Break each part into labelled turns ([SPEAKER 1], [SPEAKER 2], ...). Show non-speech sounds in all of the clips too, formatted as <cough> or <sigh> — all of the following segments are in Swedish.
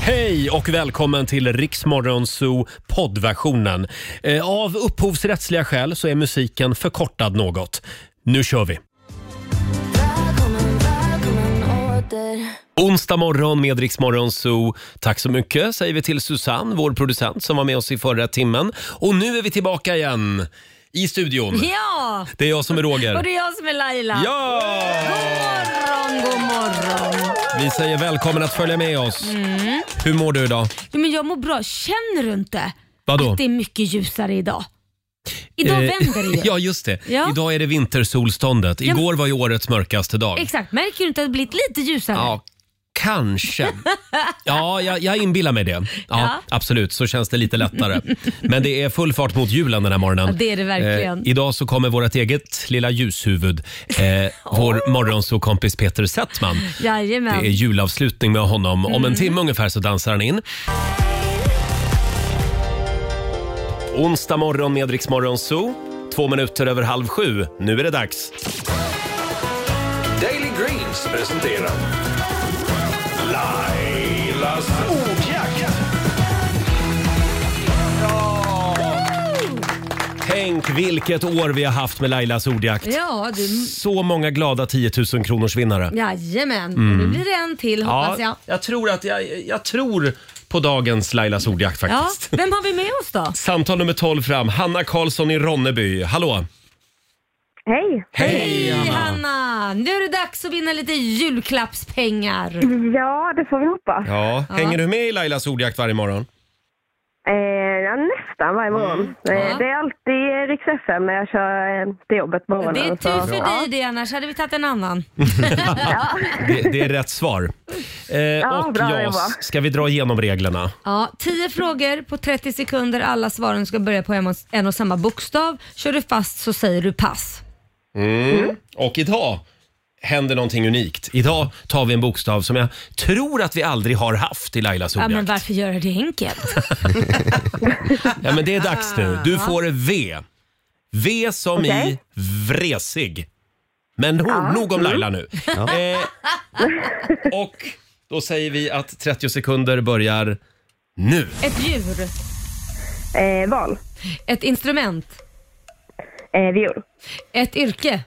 [SPEAKER 1] Hej och välkommen till Riksmorgon Zoo poddversionen. Eh, Av upphovsrättsliga skäl så är musiken förkortad något. Nu kör vi! Onsdag morgon med Rix Morgon Zoo. Tack så mycket säger vi till Susanne, vår producent som var med oss i förra timmen. Och nu är vi tillbaka igen i studion.
[SPEAKER 2] Ja!
[SPEAKER 1] Det är jag som är
[SPEAKER 2] Och
[SPEAKER 1] Roger.
[SPEAKER 2] det är jag som är Laila.
[SPEAKER 1] Ja!
[SPEAKER 2] Morgon, god morgon.
[SPEAKER 1] Vi säger välkommen att följa med oss.
[SPEAKER 2] Mm.
[SPEAKER 1] Hur mår du idag?
[SPEAKER 2] Ja, men jag mår bra. Känner du inte
[SPEAKER 1] Vadå?
[SPEAKER 2] att det är mycket ljusare idag? Idag
[SPEAKER 1] Eh, <laughs>
[SPEAKER 2] vänder det ju.
[SPEAKER 1] Ja, just det.
[SPEAKER 2] Ja.
[SPEAKER 1] Idag är det vintersolståndet.
[SPEAKER 2] Ja, men-
[SPEAKER 1] Igår var ju årets mörkaste dag.
[SPEAKER 2] Exakt, märker du inte att det blivit lite ljusare?
[SPEAKER 1] Ja,
[SPEAKER 2] <laughs>
[SPEAKER 1] kanske. Ja, jag, jag inbillar mig det. Ja,
[SPEAKER 2] Ja.
[SPEAKER 1] Absolut, så känns det lite lättare. Men det är full fart mot julen den här morgonen. Eh,
[SPEAKER 2] Ja, det är det verkligen.
[SPEAKER 1] idag så kommer vårt eget lilla ljushuvud, eh,
[SPEAKER 2] <laughs>
[SPEAKER 1] vår morgonsåkompis Peter Settman.
[SPEAKER 2] Jajamän.
[SPEAKER 1] Det är julavslutning med honom. Om
[SPEAKER 2] Mm.
[SPEAKER 1] en timme ungefär så dansar han in. Onsdag morgon med Rix Morgon Zoo. Två minuter över halv sju. Nu är det dags.
[SPEAKER 3] Daily Greens presenterar Lailas ordjakt.
[SPEAKER 1] Tänk vilket år vi har haft med Lailas ordjakt.
[SPEAKER 2] Ja, du...
[SPEAKER 1] Så många glada 10 000 kronors vinnare.
[SPEAKER 2] Jajamän.
[SPEAKER 1] Mm.
[SPEAKER 2] Och nu blir det en till hoppas jag.
[SPEAKER 1] jag tror att jag, jag tror på dagens Lailas ordjakt
[SPEAKER 2] Ja,
[SPEAKER 1] faktiskt.
[SPEAKER 2] vem har vi med oss då?
[SPEAKER 1] Samtal nummer 12 fram. Hanna Karlsson i Ronneby. Hallå!
[SPEAKER 4] Hej!
[SPEAKER 1] Hej,
[SPEAKER 2] Hej
[SPEAKER 1] Hanna.
[SPEAKER 2] Hanna! Nu är det dags att vinna lite julklappspengar.
[SPEAKER 4] Ja, det får vi hoppas.
[SPEAKER 1] Ja,
[SPEAKER 2] Ja.
[SPEAKER 1] hänger du med i Lailas ordjakt varje morgon?
[SPEAKER 4] Eh, ja, nästan varje morgon. Eh,
[SPEAKER 2] Mm. Ja.
[SPEAKER 4] Det är alltid Rix FM när jag kör eh, till jobbet på morgonen.
[SPEAKER 2] Det är
[SPEAKER 4] så-
[SPEAKER 2] tur för
[SPEAKER 4] ja.
[SPEAKER 2] dig det, annars hade vi tagit en annan.
[SPEAKER 1] Det, det är rätt svar. Eh, och
[SPEAKER 4] bra
[SPEAKER 1] jag,
[SPEAKER 4] jobbat.
[SPEAKER 1] ska vi dra igenom reglerna?
[SPEAKER 2] Ja, 10 frågor på 30 sekunder. Alla svaren ska börja på en och- en och samma bokstav. Kör du fast så säger du pass.
[SPEAKER 1] Mm. Och idag händer någonting unikt. Idag tar vi en bokstav som jag tror att vi aldrig har haft i Lailas
[SPEAKER 2] Ja,
[SPEAKER 1] ordjakt.
[SPEAKER 2] men varför göra det enkelt?
[SPEAKER 1] Ja, men det är dags nu. Du får V. V som i
[SPEAKER 4] Okej.
[SPEAKER 1] vresig. Men ho, nog om Laila nu. Eh, och då säger vi att 30 sekunder börjar nu.
[SPEAKER 2] <laughs> Ett djur,
[SPEAKER 4] Eh, val.
[SPEAKER 2] ett instrument,
[SPEAKER 4] Eh, viol.
[SPEAKER 2] ett yrke,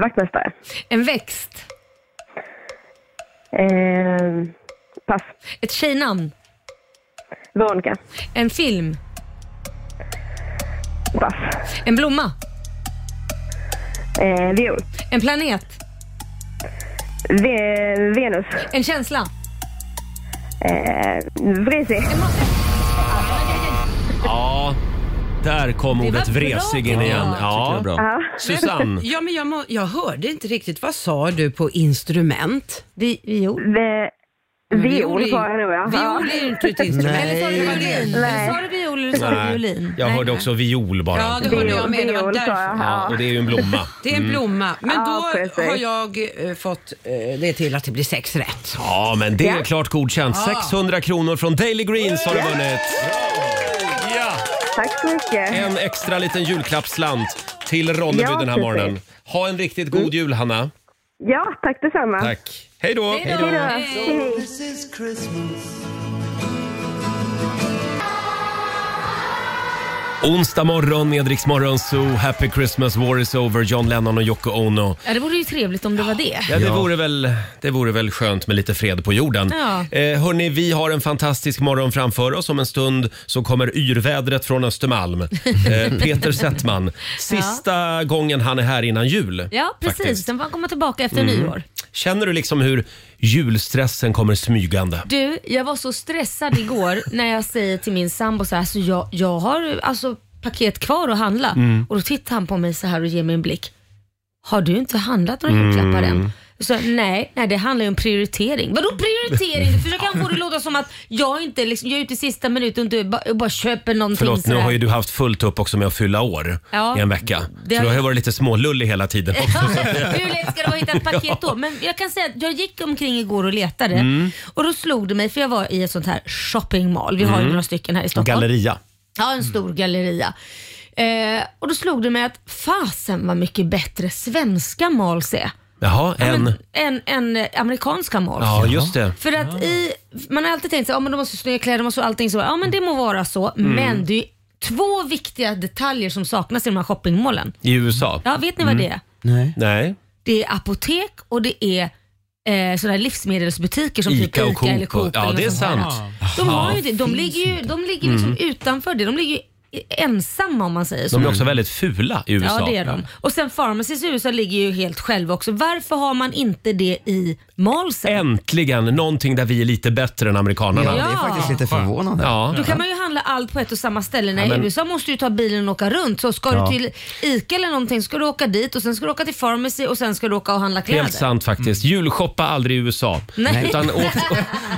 [SPEAKER 4] Vaktmästare.
[SPEAKER 2] en växt,
[SPEAKER 4] Eh, pass.
[SPEAKER 2] ett tjejnamn,
[SPEAKER 4] Veronica.
[SPEAKER 2] en film,
[SPEAKER 4] Pass.
[SPEAKER 2] en blomma,
[SPEAKER 4] Eh, viol.
[SPEAKER 2] en planet,
[SPEAKER 4] Ve- Venus.
[SPEAKER 2] en känsla.
[SPEAKER 4] Eh, Vresi.
[SPEAKER 1] Ja, där kom
[SPEAKER 2] var
[SPEAKER 1] ordet
[SPEAKER 2] bra,
[SPEAKER 1] vresig in
[SPEAKER 2] tycker
[SPEAKER 1] igen.
[SPEAKER 2] jag.
[SPEAKER 1] Ja.
[SPEAKER 4] Ja.
[SPEAKER 1] Susanne,
[SPEAKER 5] Ja, men jag, må, jag hörde inte riktigt. Vad sa du på instrument?
[SPEAKER 2] Vi, jo.
[SPEAKER 4] Ve- Mm. Viol sa jag nog ja. Ja.
[SPEAKER 5] Viol är ju inte ett instrument.
[SPEAKER 2] Eller sa du violin?
[SPEAKER 4] Nej.
[SPEAKER 2] Sa du viol eller sa du violin?
[SPEAKER 1] jag hörde också viol
[SPEAKER 5] Ja,
[SPEAKER 1] bara.
[SPEAKER 5] det hörde jag
[SPEAKER 4] Viol-
[SPEAKER 5] med. Det var
[SPEAKER 4] viol sa jag.
[SPEAKER 5] därför.
[SPEAKER 1] Ja, och det är ju en blomma.
[SPEAKER 5] Det är en blomma. Men
[SPEAKER 4] Ja,
[SPEAKER 5] då
[SPEAKER 4] precis.
[SPEAKER 5] har jag eh, fått eh, det till att det blir sex rätt.
[SPEAKER 1] Ja, men det är
[SPEAKER 4] Ja.
[SPEAKER 1] klart godkänt.
[SPEAKER 5] Ja.
[SPEAKER 1] 600 kronor från Daily Greens har du vunnit. Ja.
[SPEAKER 4] Tack så mycket.
[SPEAKER 1] En extra liten julklappsslant till Ronneby
[SPEAKER 4] Ja,
[SPEAKER 1] den här
[SPEAKER 4] precis. Mm.
[SPEAKER 1] morgonen. Ha en riktigt god jul, Hanna.
[SPEAKER 4] Ja, tack detsamma.
[SPEAKER 1] Tack. Hej då!
[SPEAKER 2] Hej då.
[SPEAKER 4] Hej då. Hej.
[SPEAKER 1] Onsdag morgon med Rix Morgon Zoo. Happy Christmas, War is over. John Lennon och Yoko Ono.
[SPEAKER 2] Ja, det vore ju trevligt om det var det.
[SPEAKER 1] Ja, det, vore väl, det vore väl skönt med lite fred på jorden.
[SPEAKER 2] Ja.
[SPEAKER 1] Eh, hörni, vi har en fantastisk morgon framför oss. Om en stund så kommer yrvädret från
[SPEAKER 2] <laughs>
[SPEAKER 1] Östermalm. Eh, Peter Settman. Sista gången han är här innan jul.
[SPEAKER 2] Ja, precis.
[SPEAKER 1] faktiskt.
[SPEAKER 2] Sen får han komma tillbaka efter nyår.
[SPEAKER 1] Känner du liksom hur julstressen kommer smygande?
[SPEAKER 2] Du, jag var så
[SPEAKER 1] <laughs>
[SPEAKER 2] stressad igår när jag säger till min sambo så här, alltså jag, jag har alltså paket kvar att handla.
[SPEAKER 1] Mm.
[SPEAKER 2] Och då tittar han på mig så här och ger mig en blick. Har du inte handlat några julklappar
[SPEAKER 1] Mm.
[SPEAKER 2] än? Så, nej, nej, det handlar ju om prioritering. Vadå prioritering? Du försöker han få det
[SPEAKER 1] <laughs>
[SPEAKER 2] att låta som att jag inte liksom, jag är ute i sista minuten och inte bara, och bara köper någonting
[SPEAKER 1] Förlåt, nu
[SPEAKER 2] sådär.
[SPEAKER 1] har ju du haft fullt upp också med att fylla år
[SPEAKER 2] Ja.
[SPEAKER 1] i en vecka.
[SPEAKER 2] Det
[SPEAKER 1] Så
[SPEAKER 2] har-
[SPEAKER 1] du har ju varit lite smålullig hela tiden.
[SPEAKER 2] <laughs> Ja, Hur lätt ska det vara att hitta ett paket då? Men jag kan säga att jag gick omkring igår och letade
[SPEAKER 1] Mm.
[SPEAKER 2] och då slog det mig, för jag var i ett sånt här shoppingmall, vi har
[SPEAKER 1] Mm.
[SPEAKER 2] ju några stycken här i Stockholm.
[SPEAKER 1] Galleria.
[SPEAKER 2] Ja, en stor
[SPEAKER 1] Mm.
[SPEAKER 2] galleria. Eh, och då slog det mig att fasen vad mycket bättre svenska malls är.
[SPEAKER 1] Jaha, en.
[SPEAKER 2] En, en eh, amerikansk amorf.
[SPEAKER 1] Ja, just det.
[SPEAKER 2] För att i, man har alltid tänkt så, ja men de måste snygga kläder, de måste allting så. Ja men det må vara så,
[SPEAKER 1] Mm.
[SPEAKER 2] men det är två viktiga detaljer som saknas i de här shoppingmålen.
[SPEAKER 1] I USA.
[SPEAKER 2] Ja, vet ni vad
[SPEAKER 1] Mm.
[SPEAKER 2] det är?
[SPEAKER 5] Nej.
[SPEAKER 1] Nej.
[SPEAKER 2] Det är apotek och det är eh, sådana här livsmedelsbutiker som typ
[SPEAKER 1] Ica och Coop.
[SPEAKER 2] eller Coop.
[SPEAKER 1] Ja,
[SPEAKER 2] eller
[SPEAKER 1] det är
[SPEAKER 2] något sånt här.
[SPEAKER 1] sant.
[SPEAKER 2] De, har ju inte, de ligger ju de ligger liksom utanför det. De ligger ju ensamma om man säger så.
[SPEAKER 1] Mm. De är också väldigt fula i USA.
[SPEAKER 2] Mm. Ja det är de. Och sen Pharmacies i USA ligger ju helt själva också. Varför har man inte det i malsen?
[SPEAKER 1] Äntligen någonting där vi är lite bättre än
[SPEAKER 6] Ja,
[SPEAKER 1] amerikanerna.
[SPEAKER 6] det är
[SPEAKER 2] Ja.
[SPEAKER 6] faktiskt lite förvånande.
[SPEAKER 1] Ja.
[SPEAKER 2] Då kan man ju handla allt på ett och samma ställe. Nej,
[SPEAKER 1] men-
[SPEAKER 2] I USA måste du ta bilen och åka runt. Så ska
[SPEAKER 1] Ja.
[SPEAKER 2] du till ICA eller någonting ska du åka dit och sen ska du åka till Pharmacy och sen ska du åka och handla kläder.
[SPEAKER 1] Helt sant faktiskt. Julshoppa aldrig i USA.
[SPEAKER 2] Mm. Nej. <laughs>
[SPEAKER 1] Utan åk,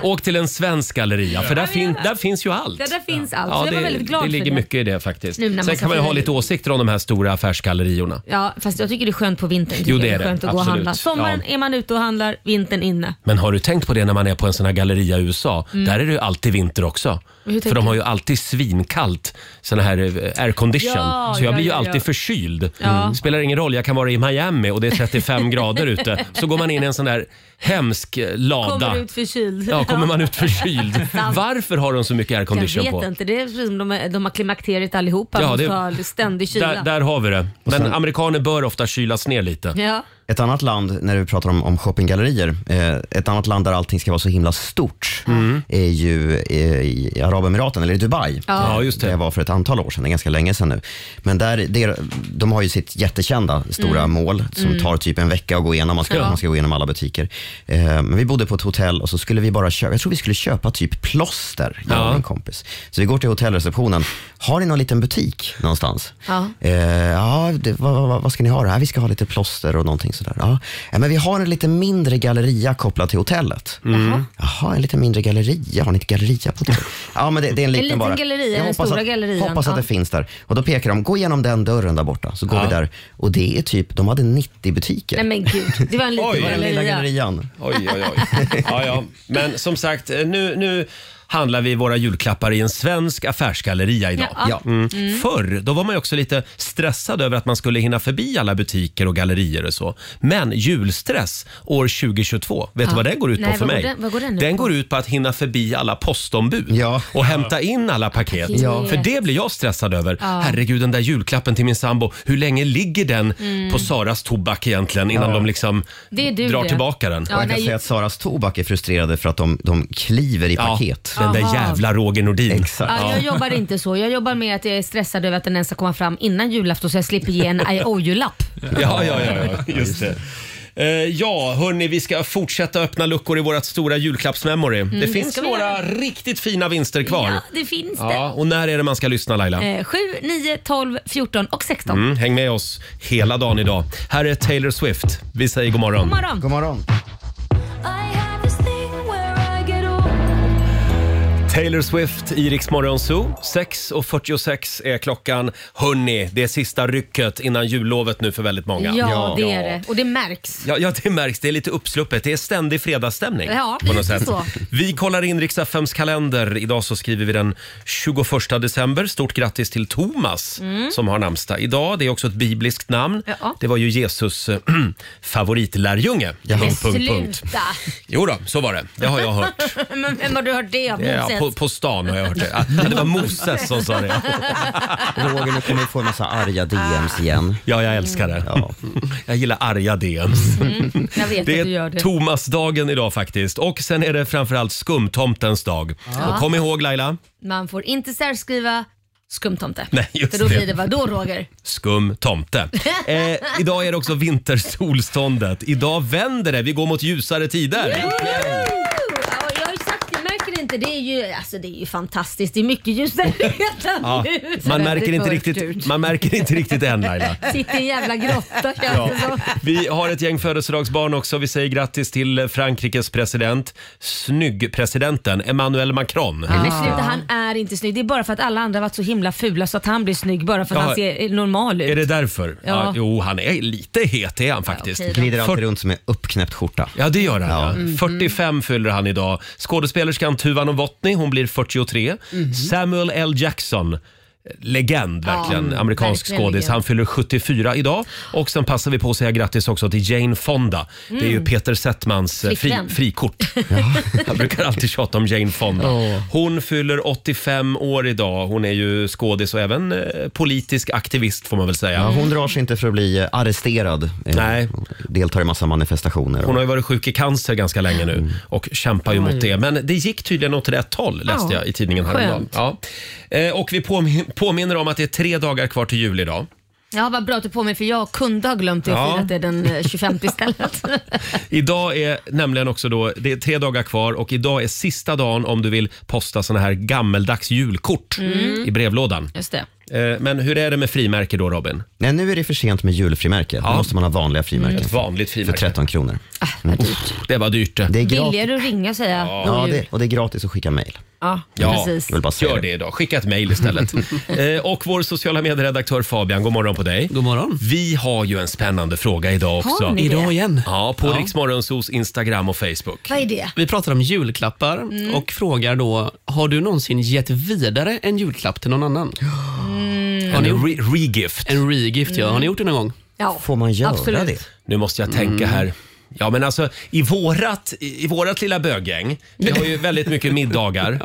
[SPEAKER 1] åk till en svensk galleria för där, fin, där finns ju allt.
[SPEAKER 2] Ja, där finns allt.
[SPEAKER 1] Ja,
[SPEAKER 2] så jag var
[SPEAKER 1] det,
[SPEAKER 2] väldigt glad
[SPEAKER 1] det ligger
[SPEAKER 2] för det.
[SPEAKER 1] mycket i det faktiskt.
[SPEAKER 2] Nu när man
[SPEAKER 1] Sen
[SPEAKER 2] ska
[SPEAKER 1] kan man ju ha
[SPEAKER 2] fira
[SPEAKER 1] lite
[SPEAKER 2] jul.
[SPEAKER 1] åsikter om de här stora affärsgallerierna.
[SPEAKER 2] Ja, fast jag tycker det är skönt på vintern. tycker
[SPEAKER 1] Jo, det
[SPEAKER 2] jag.
[SPEAKER 1] är det.
[SPEAKER 2] Skönt att gå och
[SPEAKER 1] Absolut.
[SPEAKER 2] handla. Sommaren
[SPEAKER 1] Ja.
[SPEAKER 2] är man ute och handlar, vintern inne.
[SPEAKER 1] Men har du tänkt på det när man är på en sån här galleria i USA? Där är det ju alltid vinter också.
[SPEAKER 2] Mm. Hur
[SPEAKER 1] För
[SPEAKER 2] tänker
[SPEAKER 1] de har
[SPEAKER 2] du?
[SPEAKER 1] ju alltid svinkallt, sån här eh, aircondition.
[SPEAKER 2] Ja,
[SPEAKER 1] så jag
[SPEAKER 2] ja,
[SPEAKER 1] blir ju
[SPEAKER 2] ja,
[SPEAKER 1] alltid
[SPEAKER 2] ja.
[SPEAKER 1] förkyld. Mm.
[SPEAKER 2] Ja.
[SPEAKER 1] Spelar ingen roll, jag kan vara i Miami och det är
[SPEAKER 2] <laughs>
[SPEAKER 1] 35 grader ute. Så går man in i en sån där hemsk eh, lada.
[SPEAKER 2] Kommer ut förkyld.
[SPEAKER 1] Ja, kommer man ut
[SPEAKER 2] <laughs>
[SPEAKER 1] förkyld. Varför har de så mycket
[SPEAKER 2] Jag
[SPEAKER 1] aircondition
[SPEAKER 2] vet
[SPEAKER 1] på?
[SPEAKER 2] inte. Det är precis som de, är- de har klimakteriet allihopa.
[SPEAKER 1] Ja,
[SPEAKER 2] Ja,
[SPEAKER 1] det-
[SPEAKER 2] det... ha ständig kyla.
[SPEAKER 1] Där, där har vi det. Men amerikaner bör ofta kylas ner lite.
[SPEAKER 2] Ja.
[SPEAKER 6] Ett annat land, när vi pratar om, om shoppinggallerier, eh, ett annat land där allting ska vara så himla stort
[SPEAKER 1] Mm.
[SPEAKER 6] är ju eh, i Arabemiraten, eller i Dubai.
[SPEAKER 1] Ja, just
[SPEAKER 6] Det
[SPEAKER 1] det.
[SPEAKER 6] var för ett antal år sedan, det är ganska länge sedan nu. Men där, det, de har ju sitt jättekända stora
[SPEAKER 1] Mm.
[SPEAKER 6] mål som tar typ en vecka att gå igenom. Man ska, man ska gå igenom alla butiker. Eh, men vi bodde på ett hotell och så skulle vi bara köpa, jag tror vi skulle köpa typ plåster, jag
[SPEAKER 1] Ja.
[SPEAKER 6] och min kompis. Så vi går till hotellreceptionen. Har ni någon liten butik någonstans?
[SPEAKER 2] Ja.
[SPEAKER 6] Eh, ja det, vad, vad, vad ska ni ha då? Ja, vi ska ha lite plåster och någonting sådär. Ja. Ja, men vi har en lite mindre galleria kopplad till hotellet.
[SPEAKER 2] Mm.
[SPEAKER 6] Jaha, en lite mindre galleria. Har ni inte galleria på hotellet? Ja, men det, det är en liten,
[SPEAKER 2] liten
[SPEAKER 6] bara.
[SPEAKER 2] galleria,
[SPEAKER 6] Jag
[SPEAKER 2] den
[SPEAKER 6] hoppas
[SPEAKER 2] stora
[SPEAKER 6] att,
[SPEAKER 2] gallerian.
[SPEAKER 6] Hoppas att
[SPEAKER 2] Ja.
[SPEAKER 6] det finns där. Och då pekar de, gå igenom den dörren där borta. Så går
[SPEAKER 1] Ja.
[SPEAKER 6] vi där och det är typ, de hade 90 butiker.
[SPEAKER 2] Nej men gud. Det var en liten
[SPEAKER 1] Oj,
[SPEAKER 6] det var den lilla gallerian.
[SPEAKER 1] Oj, oj, oj. Ja, ja. Men som sagt, eh, nu, nu handlar vi våra julklappar i en svensk affärsgalleria idag.
[SPEAKER 2] Ja.
[SPEAKER 6] Ja.
[SPEAKER 1] Mm. Förr då var man ju också lite stressad över att man skulle hinna förbi alla butiker och gallerier och så. Men julstress år 2022, vet du
[SPEAKER 2] Ja.
[SPEAKER 1] vad den går ut
[SPEAKER 2] Nej,
[SPEAKER 1] på för
[SPEAKER 2] vad
[SPEAKER 1] mig?
[SPEAKER 2] går den- vad går den ut på?
[SPEAKER 1] går ut på att hinna förbi alla postombud
[SPEAKER 6] Ja.
[SPEAKER 1] och hämta in alla paket.
[SPEAKER 2] Ja.
[SPEAKER 1] För det blir jag stressad över. Herregud, den där julklappen till min sambo, hur länge ligger den på Saras tobak egentligen innan de liksom
[SPEAKER 2] Mm. Det är du
[SPEAKER 1] drar
[SPEAKER 2] det.
[SPEAKER 1] tillbaka den?
[SPEAKER 2] Ja,
[SPEAKER 6] jag kan
[SPEAKER 2] nej,
[SPEAKER 6] säga att Saras Tobak är frustrerade för att de, de kliver i paket.
[SPEAKER 1] Ja, den där
[SPEAKER 2] Aha.
[SPEAKER 1] jävla Roger Nordin.
[SPEAKER 6] Exakt.
[SPEAKER 2] Ja, jag jobbar inte så. Jag jobbar med att jag är stressad över att den ens ska komma fram innan julafton så jag slipper ge en IOU-lapp.
[SPEAKER 1] <laughs> Ja, ja, ja, ja just det. Eh, ja, hörni, vi ska fortsätta öppna luckor i vårt stora julklappsmemory. det finns
[SPEAKER 2] Mm, ska vi
[SPEAKER 1] några
[SPEAKER 2] göra.
[SPEAKER 1] riktigt fina vinster kvar.
[SPEAKER 2] Ja,
[SPEAKER 1] Ja.
[SPEAKER 2] det finns det.
[SPEAKER 1] och när är det man ska lyssna Laila?
[SPEAKER 2] Eh, 7, 9, 12, 14 och 16.
[SPEAKER 1] Mm, häng med oss hela dagen idag. Här är Taylor Swift. Vi säger god morgon.
[SPEAKER 2] God morgon.
[SPEAKER 6] God morgon.
[SPEAKER 1] Taylor Swift, Iriks morgonzoo. 6.46 är klockan. Hörni, det är sista rycket innan jullovet nu för väldigt många.
[SPEAKER 2] Ja, det är det. Och det märks.
[SPEAKER 1] Ja, ja, det märks. Det är lite uppsluppet. Det är ständig fredagsstämning.
[SPEAKER 2] Ja,
[SPEAKER 1] på något
[SPEAKER 2] lite
[SPEAKER 1] sätt.
[SPEAKER 2] så.
[SPEAKER 1] Vi kollar in Rix FMs kalender. Idag så skriver vi den 21 december. Stort grattis till Thomas som har namnsdag idag. Det är också ett bibliskt namn.
[SPEAKER 2] Mm. Ja.
[SPEAKER 1] Det var ju Jesus äh, <clears throat> favoritlärjunge.
[SPEAKER 2] Men
[SPEAKER 1] Punkt, punkt, punkt.
[SPEAKER 2] sluta!
[SPEAKER 1] Jo då, så var det. Det har jag hört.
[SPEAKER 2] Men vem har du hört det av?
[SPEAKER 1] Ja,
[SPEAKER 2] <laughs> Moses?
[SPEAKER 1] på, på stan har jag hört det. Ja, det var Moses som sa det.
[SPEAKER 6] Roger, nu kommer vi få en massa arga DMs igen.
[SPEAKER 1] Ja, jag älskar det.
[SPEAKER 6] Ja.
[SPEAKER 1] <laughs> Jag gillar arga DMs.
[SPEAKER 2] Jag vet
[SPEAKER 1] Det
[SPEAKER 2] att du gör
[SPEAKER 1] är
[SPEAKER 2] det.
[SPEAKER 1] Thomasdagen idag faktiskt. Och sen är det framförallt skumtomtens dag. Och kom ihåg Laila,
[SPEAKER 2] Man får inte särskriva skumtomte.
[SPEAKER 1] Nej, just
[SPEAKER 2] För då
[SPEAKER 1] det.
[SPEAKER 2] blir det vadå Roger?
[SPEAKER 1] skum
[SPEAKER 2] <laughs>
[SPEAKER 1] tomte. Eh, idag är det också vintersolståndet. Idag vänder det, vi går mot ljusare tider.
[SPEAKER 2] Ja, och Jag har ju sagt det, märker ni inte? Det är ju, alltså, det är ju fantastiskt. Det är mycket ljusare redan
[SPEAKER 1] Ja,
[SPEAKER 2] nu.
[SPEAKER 1] man, märker
[SPEAKER 2] Väldigt
[SPEAKER 1] inte
[SPEAKER 2] mörkt
[SPEAKER 1] riktigt,
[SPEAKER 2] ut.
[SPEAKER 1] man märker inte riktigt än
[SPEAKER 2] <laughs>
[SPEAKER 1] Laila.
[SPEAKER 2] Sitter i en jävla grotta känns
[SPEAKER 1] Ja.
[SPEAKER 2] det som.
[SPEAKER 1] Vi har ett gäng födelsedagsbarn också. Vi säger grattis till Frankrikes president, snyggpresidenten Emmanuel Macron.
[SPEAKER 2] Men sluta, han är inte snygg. Det är bara för att alla andra har varit så himla fula så att han blir snygg bara för att
[SPEAKER 1] Ja.
[SPEAKER 2] han ser normal ut.
[SPEAKER 1] Är det därför? Ja.
[SPEAKER 2] Ja.
[SPEAKER 1] jo, han är lite het är han faktiskt.
[SPEAKER 2] okej då.
[SPEAKER 6] Glider alltid
[SPEAKER 1] Fyrtio-
[SPEAKER 6] runt som en uppknäppt skjorta.
[SPEAKER 1] Ja, det gör han. Ja. 45 fyller han idag. Skådespelerskan Tuva Novotny, hon blir 43. Samuel L. Jackson. legend verkligen. Amerikansk
[SPEAKER 2] verkligen
[SPEAKER 1] skådis.
[SPEAKER 2] legend.
[SPEAKER 1] Han fyller 74 idag. Och sen passar vi på att säga grattis också till Jane Fonda. Det är ju Peter Settmans eh, fri,
[SPEAKER 2] Flickvän.
[SPEAKER 1] frikort. <laughs> Jag brukar alltid tjata om Jane Fonda. Hon fyller 85 år idag. Hon är ju skådis och även eh, politisk aktivist får man väl säga.
[SPEAKER 6] Ja, hon drar sig inte för att bli eh, arresterad. Eh,
[SPEAKER 1] Nej.
[SPEAKER 6] Deltar i massa manifestationer.
[SPEAKER 1] Hon
[SPEAKER 6] Och,
[SPEAKER 1] har ju varit sjuk i cancer ganska länge
[SPEAKER 6] Mm.
[SPEAKER 1] nu och kämpar ju mot det. Men det gick tydligen åt rätt håll läste
[SPEAKER 2] Ja.
[SPEAKER 1] jag i tidningen häromdagen. Ja. Eh, Och vi påmin- påminner om att det är tre dagar kvar till jul idag.
[SPEAKER 2] Ja, vad bra att du påminner för jag kunde ha glömt det och
[SPEAKER 1] Ja.
[SPEAKER 2] firat det den eh, 25
[SPEAKER 1] <laughs>
[SPEAKER 2] istället.
[SPEAKER 1] Idag är nämligen också då, det är tre dagar kvar och idag är sista dagen om du vill posta såna här gammeldags julkort
[SPEAKER 6] Mm.
[SPEAKER 1] i brevlådan.
[SPEAKER 2] Just det.
[SPEAKER 1] Eh, Men hur är det med frimärke då Robin?
[SPEAKER 6] nej, nu är det för sent med julfrimärken. Då måste man ha vanliga frimärken.
[SPEAKER 1] Mm, Ett vanligt
[SPEAKER 6] För
[SPEAKER 1] frimärke.
[SPEAKER 6] 13 kronor.
[SPEAKER 2] Ah,
[SPEAKER 1] Det var dyrt det.
[SPEAKER 6] Det är gratis.
[SPEAKER 2] Billigare att ringa och säga
[SPEAKER 6] Ja,
[SPEAKER 2] god jul.
[SPEAKER 6] det, och det är gratis att skicka mejl.
[SPEAKER 2] Ja,
[SPEAKER 1] Ja,
[SPEAKER 2] precis.
[SPEAKER 6] Jag vill bara säga
[SPEAKER 1] gör
[SPEAKER 6] det.
[SPEAKER 1] det idag. Skicka ett mejl
[SPEAKER 6] <laughs>
[SPEAKER 1] istället. eh, och vår sociala medieredaktör Fabian, god morgon på dig.
[SPEAKER 7] God morgon.
[SPEAKER 1] Vi har ju en spännande fråga idag också.
[SPEAKER 2] Har ni?
[SPEAKER 7] Idag igen.
[SPEAKER 1] Ja, på Riksmorgonsos Instagram och Facebook.
[SPEAKER 2] Vad är det?
[SPEAKER 7] Vi pratar om julklappar och frågar då, har du någonsin gett vidare en julklapp till någon annan? Har
[SPEAKER 2] Mm.
[SPEAKER 1] En
[SPEAKER 7] ni gjort
[SPEAKER 1] re- regift.
[SPEAKER 7] en regift, ja. Har ni gjort det någon gång? <laughs>
[SPEAKER 2] Ja.
[SPEAKER 6] Får man göra
[SPEAKER 2] Absolut.
[SPEAKER 6] det?
[SPEAKER 1] Nu måste jag tänka här. Ja, men alltså i vårat, i i vårat lilla bögäng, vi har ju väldigt mycket <laughs> middagar.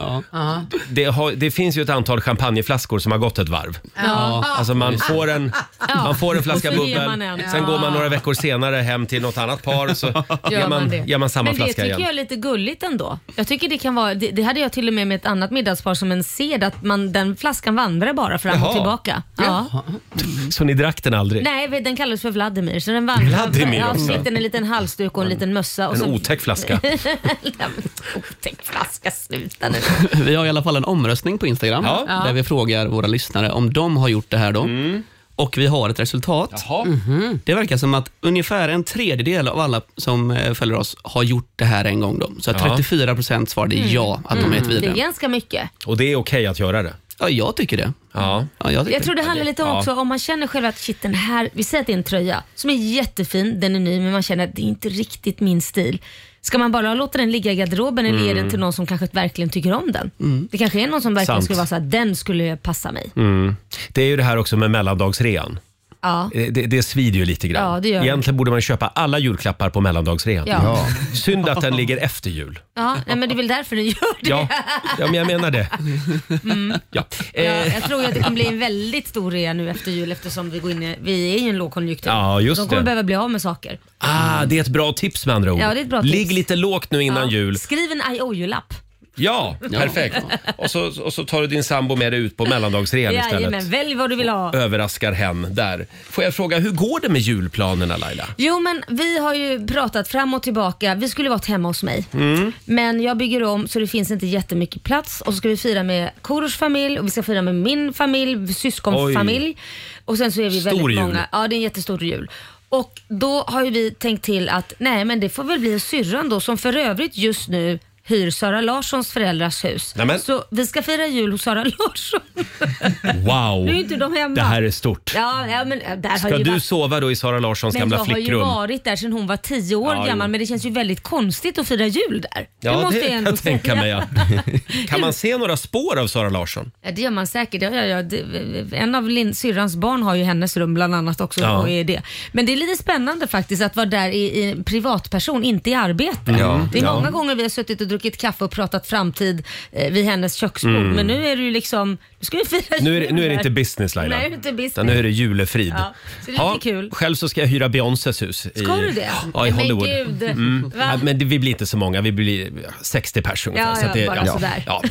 [SPEAKER 1] Det, har, det finns ju ett antal champagneflaskor som har gått ett varv.
[SPEAKER 2] Ja.
[SPEAKER 1] Alltså man får en, man får en flaska
[SPEAKER 2] Och så ger
[SPEAKER 1] bubbel,
[SPEAKER 2] man en.
[SPEAKER 1] sen går man några veckor senare hem till något annat par
[SPEAKER 2] <laughs>
[SPEAKER 1] och så ger man, ger man samma
[SPEAKER 2] Men det
[SPEAKER 1] flaska
[SPEAKER 2] tycker
[SPEAKER 1] igen.
[SPEAKER 2] jag är lite gulligt ändå. Jag tycker det kan vara, det, det hade jag till och med med ett annat middagspar som en sed att man, den flaskan vandrar bara fram
[SPEAKER 1] Jaha.
[SPEAKER 2] och tillbaka. Ja.
[SPEAKER 1] Så ni drack den aldrig?
[SPEAKER 2] Nej, den kallades för Vladimir. Så den vandrar,
[SPEAKER 1] Vladimir
[SPEAKER 2] ja,
[SPEAKER 1] också?
[SPEAKER 2] fick den en liten halsduk och en liten mössa. Och
[SPEAKER 1] En
[SPEAKER 2] så,
[SPEAKER 1] otäck flaska.
[SPEAKER 2] <laughs> Nej, men otäck flaska, sluta nu.
[SPEAKER 7] Vi har i alla fall en omröstning på Instagram
[SPEAKER 1] Ja. Mm.
[SPEAKER 7] där vi frågar våra lyssnare om de har gjort det här då. Och vi har ett resultat.
[SPEAKER 1] Jaha.
[SPEAKER 7] Det verkar som att ungefär en tredjedel av alla som eh, följer oss har gjort det här en gång. Då. Så att
[SPEAKER 1] Ja.
[SPEAKER 7] 34 procent svarade ja, att de har gett
[SPEAKER 2] Det är
[SPEAKER 7] vidare.
[SPEAKER 2] ganska mycket.
[SPEAKER 1] Och det är okej att göra det?
[SPEAKER 7] Ja, jag tycker det.
[SPEAKER 1] Ja.
[SPEAKER 7] Ja, jag tycker
[SPEAKER 2] Jag tror det handlar lite om
[SPEAKER 1] Ja.
[SPEAKER 2] också om man känner själv att shit den här, vi säger att det är en tröja som är jättefin, den är ny men man känner att det är inte riktigt min stil. Ska man bara låta den ligga i garderoben eller ge den till någon som kanske verkligen tycker om den? Det kanske är någon som verkligen
[SPEAKER 1] Mm. Sant. Mm.
[SPEAKER 2] skulle vara såhär, den skulle passa mig.
[SPEAKER 1] Det är ju det här också med mellandagsrean.
[SPEAKER 2] Ja.
[SPEAKER 1] Det, det, det svider ju lite grann.
[SPEAKER 2] Ja, det gör det.
[SPEAKER 1] Egentligen borde man köpa alla julklappar på mellandagsrean.
[SPEAKER 2] Ja. Ja.
[SPEAKER 1] Synd att den ligger efter
[SPEAKER 2] <laughs>
[SPEAKER 1] jul.
[SPEAKER 2] Ja, nej, men det är väl därför den gör det.
[SPEAKER 1] Ja, ja men jag menar det.
[SPEAKER 2] Mm.
[SPEAKER 1] Ja.
[SPEAKER 2] Ja,
[SPEAKER 1] Eh,
[SPEAKER 2] jag tror ju att det kommer bli en väldigt stor rea nu efter jul eftersom vi, går in i, vi är i en lågkonjunktur.
[SPEAKER 1] Ja, just
[SPEAKER 2] De kommer
[SPEAKER 1] det.
[SPEAKER 2] behöva bli av med saker.
[SPEAKER 1] ah, det är ett bra tips med andra ord.
[SPEAKER 2] Ja, det är ett bra tips.
[SPEAKER 1] Ligg lite lågt nu innan
[SPEAKER 2] Ja.
[SPEAKER 1] jul.
[SPEAKER 2] Skriv en IOU-lapp.
[SPEAKER 1] Ja, perfekt. Och så, och så tar du din sambo med dig ut på mellandagsrean
[SPEAKER 2] Jajamän,
[SPEAKER 1] istället.
[SPEAKER 2] välj vad du vill ha.
[SPEAKER 1] Överraskar hen där. Får jag fråga, hur går det med julplanerna Laila?
[SPEAKER 2] Jo men vi har ju pratat fram och tillbaka. Vi skulle varit hemma hos mig. Men jag bygger om så det finns inte jättemycket plats. Och så ska vi fira med Korosh familj och vi ska fira med min familj, syskonfamilj. Och sen så är vi
[SPEAKER 1] Stor
[SPEAKER 2] väldigt
[SPEAKER 1] jul.
[SPEAKER 2] många. Ja det är en jättestor jul. Och då har ju vi tänkt till att nej men det får väl bli syrran då som för övrigt just nu hyr Sara Larssons föräldrars hus.
[SPEAKER 1] Nämen.
[SPEAKER 2] Så vi ska fira jul hos Sara Larsson. <laughs>
[SPEAKER 1] Wow!
[SPEAKER 2] <laughs> Nu är inte de hemma.
[SPEAKER 1] Det här är stort.
[SPEAKER 2] Ja, ja men äh, där
[SPEAKER 1] Ska
[SPEAKER 2] har ju
[SPEAKER 1] du
[SPEAKER 2] varit...
[SPEAKER 1] sova då i Sara Larssons
[SPEAKER 2] Men
[SPEAKER 1] gamla
[SPEAKER 2] jag har ju
[SPEAKER 1] flickrum?
[SPEAKER 2] varit där sedan hon var tio år
[SPEAKER 1] Ja,
[SPEAKER 2] gammal
[SPEAKER 1] jo.
[SPEAKER 2] men det känns ju väldigt konstigt att fira jul där.
[SPEAKER 1] Ja, det,
[SPEAKER 2] måste
[SPEAKER 1] kan jag tänka mig. Ja.
[SPEAKER 2] <laughs>
[SPEAKER 1] Kan man se några spår av Sara Larsson?
[SPEAKER 2] Ja, det gör man säkert. Ja, ja, ja. Det- En av Lin- syrrans barn har ju hennes rum bland annat också.
[SPEAKER 1] Ja.
[SPEAKER 2] Och är det. Men det är lite spännande faktiskt att vara där i, i en privatperson, inte i arbete.
[SPEAKER 6] Ja,
[SPEAKER 2] Det är
[SPEAKER 1] Mm. ja.
[SPEAKER 2] många gånger vi har suttit och druckit kaffe och pratat framtid eh, vid hennes köksbord. Men nu är det ju liksom, nu ska vi fira
[SPEAKER 1] Mm. Nu är, det-
[SPEAKER 2] jul
[SPEAKER 1] nu är det
[SPEAKER 2] här.
[SPEAKER 1] inte business Laila.
[SPEAKER 2] Nej, det är inte business.
[SPEAKER 1] Utan nu är det julefrid.
[SPEAKER 2] Ja, så det är lite kul.
[SPEAKER 1] Själv så ska jag hyra Beyoncés hus. i-
[SPEAKER 2] Ska du det?
[SPEAKER 1] Ja, i Hollywood. Mm.
[SPEAKER 2] Men gud.
[SPEAKER 1] Ja,
[SPEAKER 2] Va?
[SPEAKER 1] men det- vi blir inte så många, vi blir 60 personer.
[SPEAKER 2] Ja,
[SPEAKER 1] så
[SPEAKER 2] ja,
[SPEAKER 1] att det,
[SPEAKER 2] bara sådär.
[SPEAKER 1] Ja.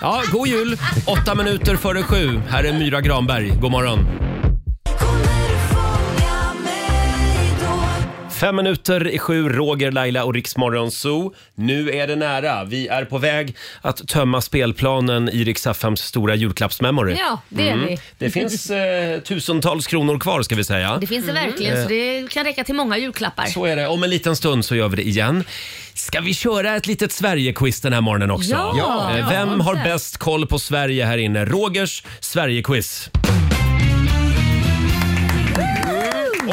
[SPEAKER 1] ja, god jul! Åtta minuter före sju. Här är Myra Granberg. God morgon! Fem minuter i sju, Roger, Laila och Riksmorgon Zoo. Nu är det nära. Vi är på väg att tömma spelplanen i Rix FMs stora julklappsmemory. Mm.
[SPEAKER 2] Ja, det är vi.
[SPEAKER 1] Det finns eh, tusentals kronor kvar ska vi säga.
[SPEAKER 2] Det finns det verkligen, så
[SPEAKER 1] Mm.
[SPEAKER 2] det kan räcka till många julklappar.
[SPEAKER 1] Så är det. Om en liten stund så gör vi det igen. Ska vi köra ett litet Sverige-quiz den här morgonen också?
[SPEAKER 2] Ja! Ja.
[SPEAKER 1] Eh, Vem
[SPEAKER 2] Ja,
[SPEAKER 1] har
[SPEAKER 2] inte.
[SPEAKER 1] bäst koll på Sverige här inne? Rogers Sverige-quiz.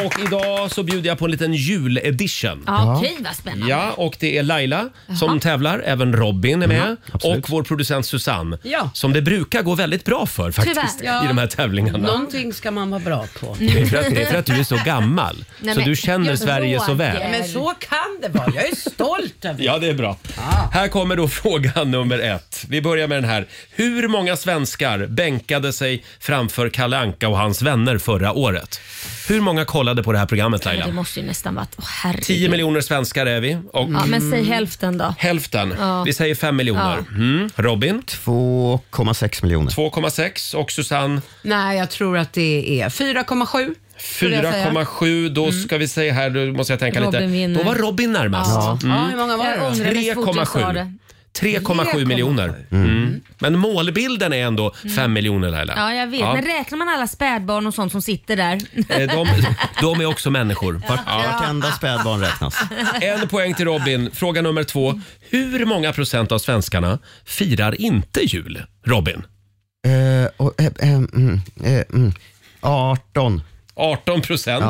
[SPEAKER 1] Och idag så bjuder jag på en liten juledition.
[SPEAKER 2] Ja, Okej, vad spännande.
[SPEAKER 1] Ja, och det är Laila som tävlar. Även Robin är med.
[SPEAKER 2] Mhm,
[SPEAKER 1] och vår producent Susanne.
[SPEAKER 5] Ja.
[SPEAKER 1] Som det brukar gå väldigt bra för faktiskt
[SPEAKER 2] Tyvärr.
[SPEAKER 1] i de här tävlingarna.
[SPEAKER 5] Någonting ska man vara bra på.
[SPEAKER 1] Det, är för att, det är för att du är så gammal.
[SPEAKER 2] <laughs> Nej,
[SPEAKER 1] så
[SPEAKER 2] men-
[SPEAKER 1] du känner
[SPEAKER 2] Jag
[SPEAKER 1] Sverige så
[SPEAKER 2] råkar.
[SPEAKER 1] väl.
[SPEAKER 5] Men så kan det vara. Jag är stolt över det.
[SPEAKER 1] Ja, det är bra.
[SPEAKER 2] Ah.
[SPEAKER 1] Här kommer då <laughs> fråga nummer ett. Vi börjar med den här. Hur många svenskar bänkade sig framför Kalle Anka och hans vänner förra året? Hur många kollade på det här programmet
[SPEAKER 2] Men det
[SPEAKER 1] Laila?
[SPEAKER 2] måste ju nästan vara... Åh, herregud.
[SPEAKER 1] 10 miljoner svenskar är vi och
[SPEAKER 2] Ja, men säg hälften då.
[SPEAKER 1] hälften,
[SPEAKER 2] Mm. Ja.
[SPEAKER 1] vi säger 5 miljoner. Mm. Robin
[SPEAKER 6] 2,6 miljoner.
[SPEAKER 1] 2,6 och Susanne
[SPEAKER 5] Nej, jag tror att det är 4,7.
[SPEAKER 1] Mm.
[SPEAKER 5] Skulle jag säga.
[SPEAKER 1] 4,7. Då ska vi säga här, då måste jag tänka
[SPEAKER 2] Mm. Robin
[SPEAKER 1] lite.
[SPEAKER 2] vinner.
[SPEAKER 1] Då var Robin närmast.
[SPEAKER 5] Ja, hur många var det
[SPEAKER 2] Jag
[SPEAKER 5] då?
[SPEAKER 2] ångrar mig så fort jag sa det.
[SPEAKER 1] 3,7. 3,7 miljoner. Mm. Men målbilden är ändå 5 miljoner Laila.
[SPEAKER 2] Mm. Ja, jag vet.
[SPEAKER 1] Ja.
[SPEAKER 2] Men räknar man alla spädbarn och sånt som sitter där?
[SPEAKER 1] Eh, De,
[SPEAKER 2] <laughs>
[SPEAKER 1] de är också människor. Ja.
[SPEAKER 6] Vartenda spädbarn räknas.
[SPEAKER 1] En poäng till Robin. Fråga nummer två. Hur många procent av svenskarna firar inte jul? Robin?
[SPEAKER 6] <laughs> Eh, och, eh, eh, mm, eh, mm. 18.
[SPEAKER 1] 18 procent.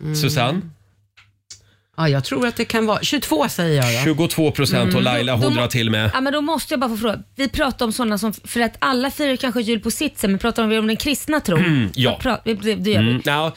[SPEAKER 6] Ja.
[SPEAKER 1] Susanne?
[SPEAKER 5] Ja, jag tror att det kan vara 22 säger jag. Då.
[SPEAKER 1] 22 procent och Laila
[SPEAKER 2] Då
[SPEAKER 1] hon
[SPEAKER 2] Mm. må-
[SPEAKER 1] drar till med.
[SPEAKER 2] Ja, men då måste jag bara få fråga. Vi pratar om sådana som, för att alla firar kanske jul på sitt sätt, men pratar vi om den kristna tron?
[SPEAKER 1] ja.
[SPEAKER 2] Pra- det, det gör vi.
[SPEAKER 1] Mm, ja,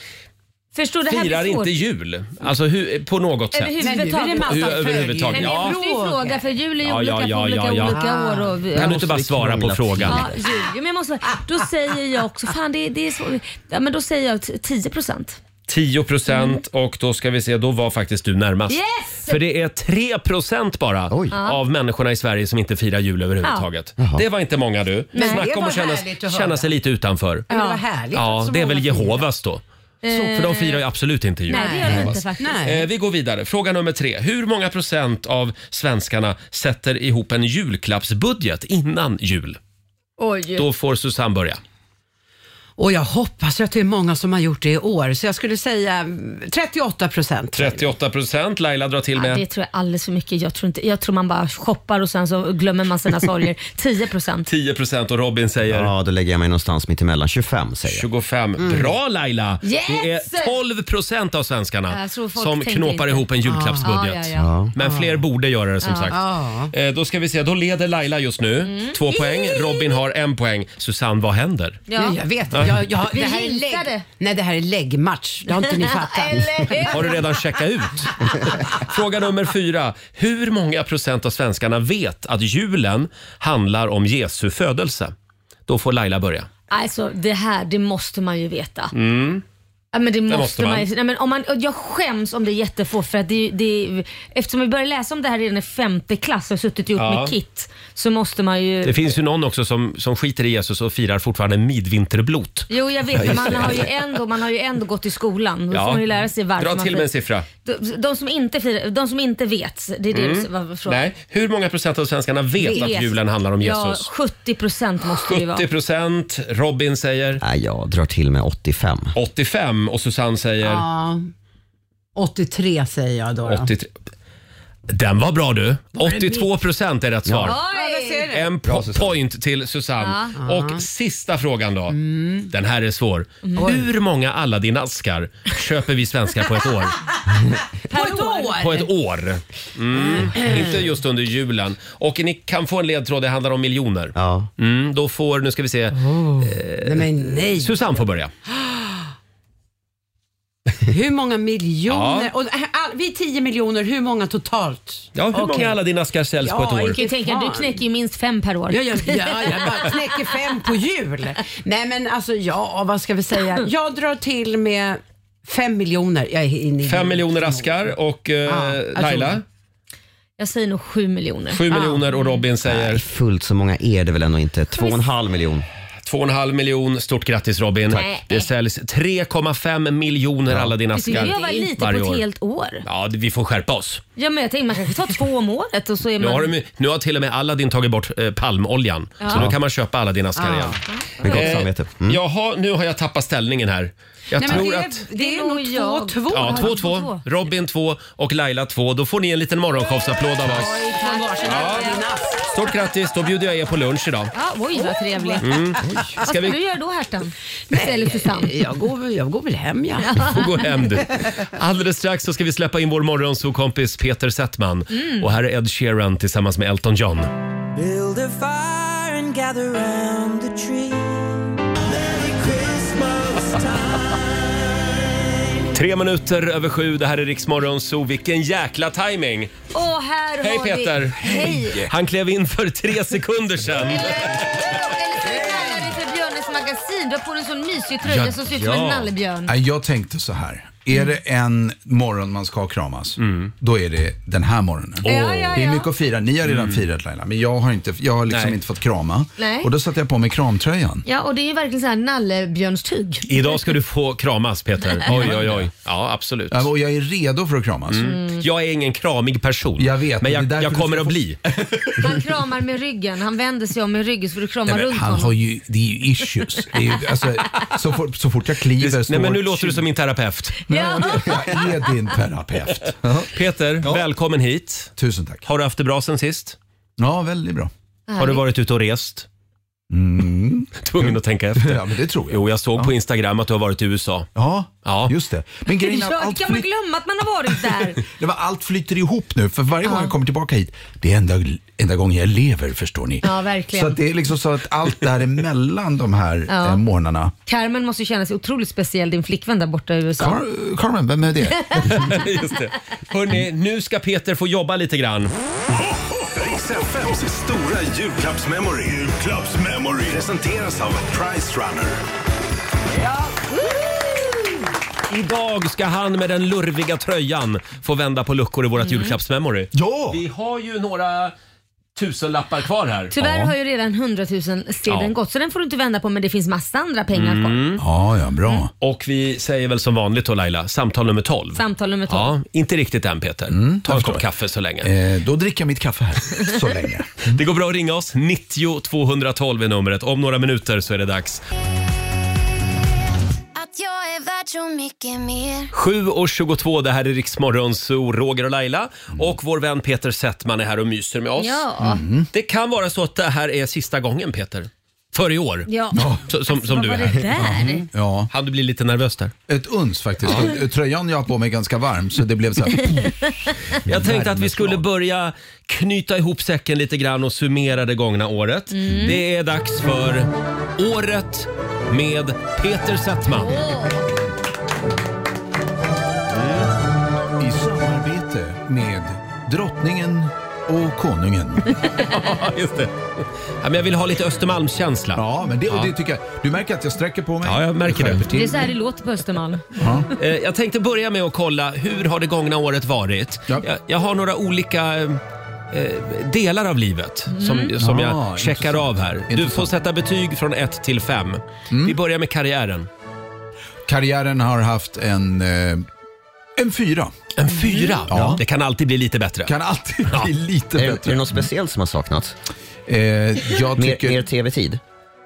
[SPEAKER 2] Förstår det här
[SPEAKER 1] firar
[SPEAKER 2] blir svårt.
[SPEAKER 1] inte jul, alltså hur, på något sätt.
[SPEAKER 2] Överhuvudtaget.
[SPEAKER 1] Hur- överhuvudtaget.
[SPEAKER 2] Men jag
[SPEAKER 1] Ja.
[SPEAKER 2] måste ju fråga för jul är ju
[SPEAKER 1] Ja, ja,
[SPEAKER 2] olika
[SPEAKER 1] ja,
[SPEAKER 2] på olika,
[SPEAKER 1] ja, ja.
[SPEAKER 2] olika år. Och,
[SPEAKER 1] Kan du inte bara
[SPEAKER 6] vi
[SPEAKER 1] svara på
[SPEAKER 6] krångla
[SPEAKER 1] frågan?
[SPEAKER 2] Ja, jul. Jo, Men jag måste, då säger jag också, fan det, det är svårt. Ja, men då säger jag t- 10 procent.
[SPEAKER 1] 10 procent och då ska vi se, då var faktiskt du närmast.
[SPEAKER 2] Yes!
[SPEAKER 1] För det är 3 procent bara
[SPEAKER 6] Oj.
[SPEAKER 1] av människorna i Sverige som inte firar jul överhuvudtaget. Det var inte många du.
[SPEAKER 5] Men det
[SPEAKER 1] Snacka om
[SPEAKER 5] var
[SPEAKER 1] att känna,
[SPEAKER 5] härligt att
[SPEAKER 1] känna
[SPEAKER 5] höra.
[SPEAKER 1] sig lite utanför.
[SPEAKER 5] Men det var härligt. att
[SPEAKER 1] Ja,
[SPEAKER 5] så
[SPEAKER 1] det är
[SPEAKER 5] många
[SPEAKER 1] väl
[SPEAKER 5] firar.
[SPEAKER 1] Jehovas då. För de firar ju absolut inte jul.
[SPEAKER 2] Eh. Nej, det gör vi inte faktiskt.
[SPEAKER 5] Nej.
[SPEAKER 1] Eh, vi går vidare. Fråga nummer tre. Hur många procent av svenskarna sätter ihop en julklappsbudget innan jul?
[SPEAKER 2] Oj.
[SPEAKER 1] Då får Susanne börja.
[SPEAKER 5] Och jag hoppas ju att det är många som har gjort det i år, så jag skulle säga mm, 38 procent.
[SPEAKER 1] 38 procent. Laila drar till
[SPEAKER 2] Ja, det
[SPEAKER 1] med
[SPEAKER 2] tror jag alldeles för mycket. Jag tror, inte, jag tror man bara shoppar och sen så glömmer man sina sorger. 10 procent.
[SPEAKER 1] 10 procent och Robin säger
[SPEAKER 6] Ja, då lägger jag mig någonstans mitt emellan 25 säger jag.
[SPEAKER 1] 25. Bra Laila!
[SPEAKER 2] Mm. Yes!
[SPEAKER 1] Det är 12 procent av svenskarna
[SPEAKER 2] Jag tror folk
[SPEAKER 1] som
[SPEAKER 2] tänker
[SPEAKER 1] knåpar
[SPEAKER 2] inte.
[SPEAKER 1] ihop en julklappsbudget.
[SPEAKER 2] Ja, ja, ja.
[SPEAKER 1] Men fler borde göra det som sagt.
[SPEAKER 5] Ja.
[SPEAKER 1] Eh, då ska vi se, då leder Laila just nu.
[SPEAKER 2] Mm.
[SPEAKER 1] Två poäng. Robin har en poäng. Susanne, vad händer?
[SPEAKER 5] Ja. Jag vet inte. Jag, jag,
[SPEAKER 2] Vi
[SPEAKER 5] det här är
[SPEAKER 2] jinxade.
[SPEAKER 5] lägg, Nej, det här är läggmatch. Det har <laughs> inte
[SPEAKER 2] <laughs>
[SPEAKER 5] ni fattat.
[SPEAKER 1] Har du redan checkat ut? Fråga nummer fyra. Hur många procent av svenskarna vet att julen handlar om Jesu födelse? Då får Laila börja.
[SPEAKER 2] Alltså det här, det måste man ju veta. Ja, men det måste,
[SPEAKER 1] måste man.
[SPEAKER 2] man. ju- Nej, men om man och jag skäms om det är jättefå för att det, är- det, är- eftersom vi började läsa om det här redan i femte klass och suttit ihop
[SPEAKER 1] Ja.
[SPEAKER 2] med Kit så måste man
[SPEAKER 1] Det
[SPEAKER 2] ju...
[SPEAKER 1] finns ju någon också som, som skiter i Jesus och firar fortfarande midvinterblot.
[SPEAKER 2] Jo jag vet, men man har ju ändå, man har ju ändå gått i skolan. Då får man ju lära sig varför
[SPEAKER 1] Dra
[SPEAKER 2] man
[SPEAKER 1] till med en
[SPEAKER 2] fir-
[SPEAKER 1] siffra.
[SPEAKER 2] de, de, som inte firar, de som inte vet, det är det du var frågan.
[SPEAKER 1] Nej, hur många procent av svenskarna vet
[SPEAKER 2] Det är-
[SPEAKER 1] att julen handlar om Jesus?
[SPEAKER 2] Ja, 70 procent måste det ju vara.
[SPEAKER 1] 70 procent. Robin säger
[SPEAKER 6] Nej, jag drar till med 85.
[SPEAKER 1] 85 och Susanne säger
[SPEAKER 5] Ja. 83 säger jag då. då.
[SPEAKER 1] 83. Den var bra du. 82 procent är rätt svar.
[SPEAKER 2] Oj!
[SPEAKER 1] En po point till Susanne. Och sista frågan då.
[SPEAKER 2] Mm.
[SPEAKER 1] Den här är svår. Hur många
[SPEAKER 2] <laughs>
[SPEAKER 1] Aladdin-askar köper vi svenskar på ett år?
[SPEAKER 5] På ett år?
[SPEAKER 1] På ett år. Mm. Inte just under julen. Och ni kan få en ledtråd, det handlar om miljoner.
[SPEAKER 6] Ja.
[SPEAKER 1] Mm, då får, nu ska vi se,
[SPEAKER 5] Nej, men nej.
[SPEAKER 1] Susanne får börja.
[SPEAKER 5] Hur många miljoner?
[SPEAKER 1] Ja.
[SPEAKER 5] Och, äh, all, vi är 10 miljoner, hur många totalt?
[SPEAKER 1] Ja, hur många Aladdin-askar säljs på ett
[SPEAKER 5] Ja,
[SPEAKER 1] år?
[SPEAKER 2] Du
[SPEAKER 5] vilket-
[SPEAKER 2] tänker, du knäcker ju minst fem per år.
[SPEAKER 5] Ja, ja, ja, jag bara knäcker fem på jul. Nej men alltså ja, vad ska vi säga? Jag drar till med fem miljoner. Jag är inne i
[SPEAKER 1] Fem miljoner askar och eh,
[SPEAKER 2] Ah,
[SPEAKER 5] jag
[SPEAKER 1] Laila
[SPEAKER 5] tror
[SPEAKER 2] Jag säger nog sju miljoner.
[SPEAKER 1] sju miljoner och Robin
[SPEAKER 6] Nej,
[SPEAKER 1] säger
[SPEAKER 6] fullt så många är det väl ändå inte? Två och en halv miljon.
[SPEAKER 1] två och en halv miljon. Stort grattis Robin.
[SPEAKER 2] Tack.
[SPEAKER 1] Det säljs 3,5 miljoner
[SPEAKER 2] Det skulle
[SPEAKER 1] Aladdin-askar
[SPEAKER 2] jag vara lite på
[SPEAKER 1] varje
[SPEAKER 2] ett
[SPEAKER 1] år.
[SPEAKER 2] helt år.
[SPEAKER 1] Ja, det- vi får skärpa oss.
[SPEAKER 2] Ja, men jag tänkte man kanske tar två om året och så är
[SPEAKER 1] Nu
[SPEAKER 2] man... Ah.
[SPEAKER 1] har, de, ju- nu har till och med Aladdin tagit bort eh, palmoljan, så nu kan man köpa Aladdin-askar igen.
[SPEAKER 6] Med gott samvete. Mm.
[SPEAKER 1] Jaha, nu har jag tappat ställningen här. Jag
[SPEAKER 5] Nej, men
[SPEAKER 1] tror
[SPEAKER 5] det, är,
[SPEAKER 1] att...
[SPEAKER 5] det är nog
[SPEAKER 2] jag.
[SPEAKER 5] 2-2.
[SPEAKER 1] Ja, 2-2. Robin 2 och Laila 2. Då får ni en liten morgonshowsapplåd av oss.
[SPEAKER 5] Oj, tack.
[SPEAKER 1] Stort grattis, då bjuder jag er på lunch idag.
[SPEAKER 2] Ja, oj vad trevligt. Vad ska
[SPEAKER 1] vi-
[SPEAKER 2] du göra då Hertan? Eller Susanne?
[SPEAKER 5] Jag går, väl- jag går väl hem ja.
[SPEAKER 1] får gå hem du. Alldeles strax så ska vi släppa in vår morgonsokompis Peter Settman. Och här är Ed Sheeran tillsammans med Elton John. Tre minuter över sju, det här är Riksmorgon Zoo. Vilken jäkla timing!
[SPEAKER 2] Åh, här
[SPEAKER 1] Hej
[SPEAKER 2] har
[SPEAKER 1] Peter!
[SPEAKER 2] vi... Hej!
[SPEAKER 1] Han klev in för tre sekunder sedan.
[SPEAKER 2] Eller ska vi kalla dig för Björnes magasin? Du har på dig en sån mysig tröja
[SPEAKER 1] Ja,
[SPEAKER 2] som ser ut
[SPEAKER 1] ja.
[SPEAKER 2] som en nallebjörn.
[SPEAKER 8] Nej, Jag tänkte så här. Är det en morgon man ska kramas, då är det den här morgonen.
[SPEAKER 2] Ja, ja, ja.
[SPEAKER 8] Det är mycket att fira. Ni har redan firat Laila, men jag har, inte, jag har liksom
[SPEAKER 1] Mm. Nej.
[SPEAKER 8] inte fått krama.
[SPEAKER 2] Nej.
[SPEAKER 8] Och då satte jag på mig kramtröjan.
[SPEAKER 2] Ja, och det är ju verkligen så här nallebjörnstyg.
[SPEAKER 1] Idag ska du få kramas Peter. Oj, oj, oj. Ja, absolut.
[SPEAKER 8] Ja, Och jag är redo för att kramas.
[SPEAKER 1] Mm. Jag är ingen kramig person,
[SPEAKER 8] Jag vet,
[SPEAKER 1] men
[SPEAKER 8] men
[SPEAKER 1] jag,
[SPEAKER 8] det är därför
[SPEAKER 1] jag
[SPEAKER 8] du
[SPEAKER 1] kommer
[SPEAKER 8] ska
[SPEAKER 1] att
[SPEAKER 8] få-
[SPEAKER 1] bli.
[SPEAKER 2] Han kramar med ryggen. Han vänder sig om med ryggen så får du krama
[SPEAKER 8] Nej, men
[SPEAKER 2] runt
[SPEAKER 8] han
[SPEAKER 2] honom.
[SPEAKER 8] har ju, det är ju issues. Det är ju, alltså, så, fort, så fort jag kliver står
[SPEAKER 1] Nej, men nu låter du som min terapeut.
[SPEAKER 2] Ja.
[SPEAKER 8] Jag är din terapeut. Ja,
[SPEAKER 1] Peter, välkommen hit.
[SPEAKER 8] Tusen tack.
[SPEAKER 1] Har du haft det bra sen sist?
[SPEAKER 8] Ja, väldigt bra.
[SPEAKER 1] Har du varit ute och rest? <laughs> Tvungen att tänka efter.
[SPEAKER 8] Mm. <laughs> Ja, men det tror jag.
[SPEAKER 1] Jo, jag såg på Instagram att du har varit i USA.
[SPEAKER 8] Ja,
[SPEAKER 1] Ja.
[SPEAKER 8] just det. Men grejen är
[SPEAKER 2] <laughs>
[SPEAKER 8] att
[SPEAKER 2] Ja,
[SPEAKER 8] allt
[SPEAKER 2] kan man
[SPEAKER 8] flyt,
[SPEAKER 2] glömma att man har varit
[SPEAKER 8] <laughs>
[SPEAKER 2] där?
[SPEAKER 8] det var, allt flyter ihop nu. För varje gång jag kommer tillbaka hit, det är enda, enda gången jag lever förstår ni.
[SPEAKER 2] Ja, verkligen.
[SPEAKER 8] Så att det är liksom så att allt däremellan de här
[SPEAKER 2] Ja.
[SPEAKER 8] eh, morgnarna.
[SPEAKER 2] Carmen måste ju känna sig otroligt speciell, din flickvän där borta i USA.
[SPEAKER 8] Car- Carmen, vem är
[SPEAKER 2] <laughs>
[SPEAKER 8] det?
[SPEAKER 1] <laughs> Just det. Hörrni, nu ska Peter få jobba lite grann.
[SPEAKER 9] Riks FMs stora julklappsmemory. Julklappsmemory. Presenteras av Price Runner.
[SPEAKER 1] Idag ska han med den lurviga tröjan få vända på luckor i vårt julklappsmemory.
[SPEAKER 8] ja!
[SPEAKER 1] Vi har ju några tusenlappar kvar här.
[SPEAKER 2] Tyvärr har ju redan 100 000 sedeln
[SPEAKER 1] Ja.
[SPEAKER 2] gått så den får du inte vända på men det finns massa andra pengar
[SPEAKER 8] Mm.
[SPEAKER 1] Mm.
[SPEAKER 2] kvar.
[SPEAKER 8] Ja, ja, bra.
[SPEAKER 1] Och vi säger väl som vanligt då Laila, samtal nummer 12.
[SPEAKER 2] Samtal nummer 12.
[SPEAKER 1] Ja, inte riktigt än Peter. Ta en kopp kaffe så länge.
[SPEAKER 8] Eh, då dricker jag mitt kaffe här,
[SPEAKER 2] <laughs>
[SPEAKER 8] så länge.
[SPEAKER 1] Det går bra att ringa oss. 90 212 är numret. Om några minuter så är det dags.
[SPEAKER 10] Att jag är värd så mycket mer
[SPEAKER 1] 7.22, det här är Riksmorgon, så Roger och Laila och vår vän Peter Settman är här och myser med oss.
[SPEAKER 2] Ja.
[SPEAKER 8] Mm.
[SPEAKER 1] Det kan vara så att det här är sista gången Peter, för i år,
[SPEAKER 2] ja.
[SPEAKER 1] Så- som, som du är
[SPEAKER 2] Vad var det
[SPEAKER 1] här.
[SPEAKER 2] där?
[SPEAKER 8] Ja, Mm.
[SPEAKER 1] Han du blir lite nervös där.
[SPEAKER 8] ett uns faktiskt. eh, Tröjan jag har på mig är ganska varm, så det blev
[SPEAKER 1] <laughs>
[SPEAKER 8] så här...
[SPEAKER 1] Jag tänkte att vi
[SPEAKER 8] Värmeslag.
[SPEAKER 1] skulle börja knyta ihop säcken lite grann och summera det gångna året.
[SPEAKER 2] Mm.
[SPEAKER 1] Det är dags för Året med Peter Settman.
[SPEAKER 8] I samarbete med drottningen och konungen.
[SPEAKER 1] Ja, just det. Ja, men jag vill ha lite Östermalmskänsla.
[SPEAKER 8] <laughs> Ja, men det, och det tycker jag. Du märker att jag sträcker på mig.
[SPEAKER 1] Ja, jag märker det.
[SPEAKER 8] skärper till.
[SPEAKER 2] Det är så här det låter på Östermalm.
[SPEAKER 1] Eh, Jag tänkte börja med att kolla hur har det gångna året varit.
[SPEAKER 8] Ja.
[SPEAKER 1] Jag, jag har några olika eh, delar av livet som, som
[SPEAKER 8] Ah,
[SPEAKER 1] jag checkar
[SPEAKER 8] intressant.
[SPEAKER 1] av här. Du
[SPEAKER 8] Intressant. Mm.
[SPEAKER 1] får sätta betyg från 1 till 5. Vi börjar med karriären.
[SPEAKER 8] Karriären har haft en, eh, en fyra.
[SPEAKER 1] En fyra. Eh,
[SPEAKER 8] Ja.
[SPEAKER 1] Det kan alltid bli lite bättre.
[SPEAKER 8] Kan alltid bli lite
[SPEAKER 6] Är, är det
[SPEAKER 8] bättre.
[SPEAKER 6] något speciellt som har saknats?
[SPEAKER 8] Eh, jag
[SPEAKER 6] Mer,
[SPEAKER 8] tycker...
[SPEAKER 6] mer tv-tid?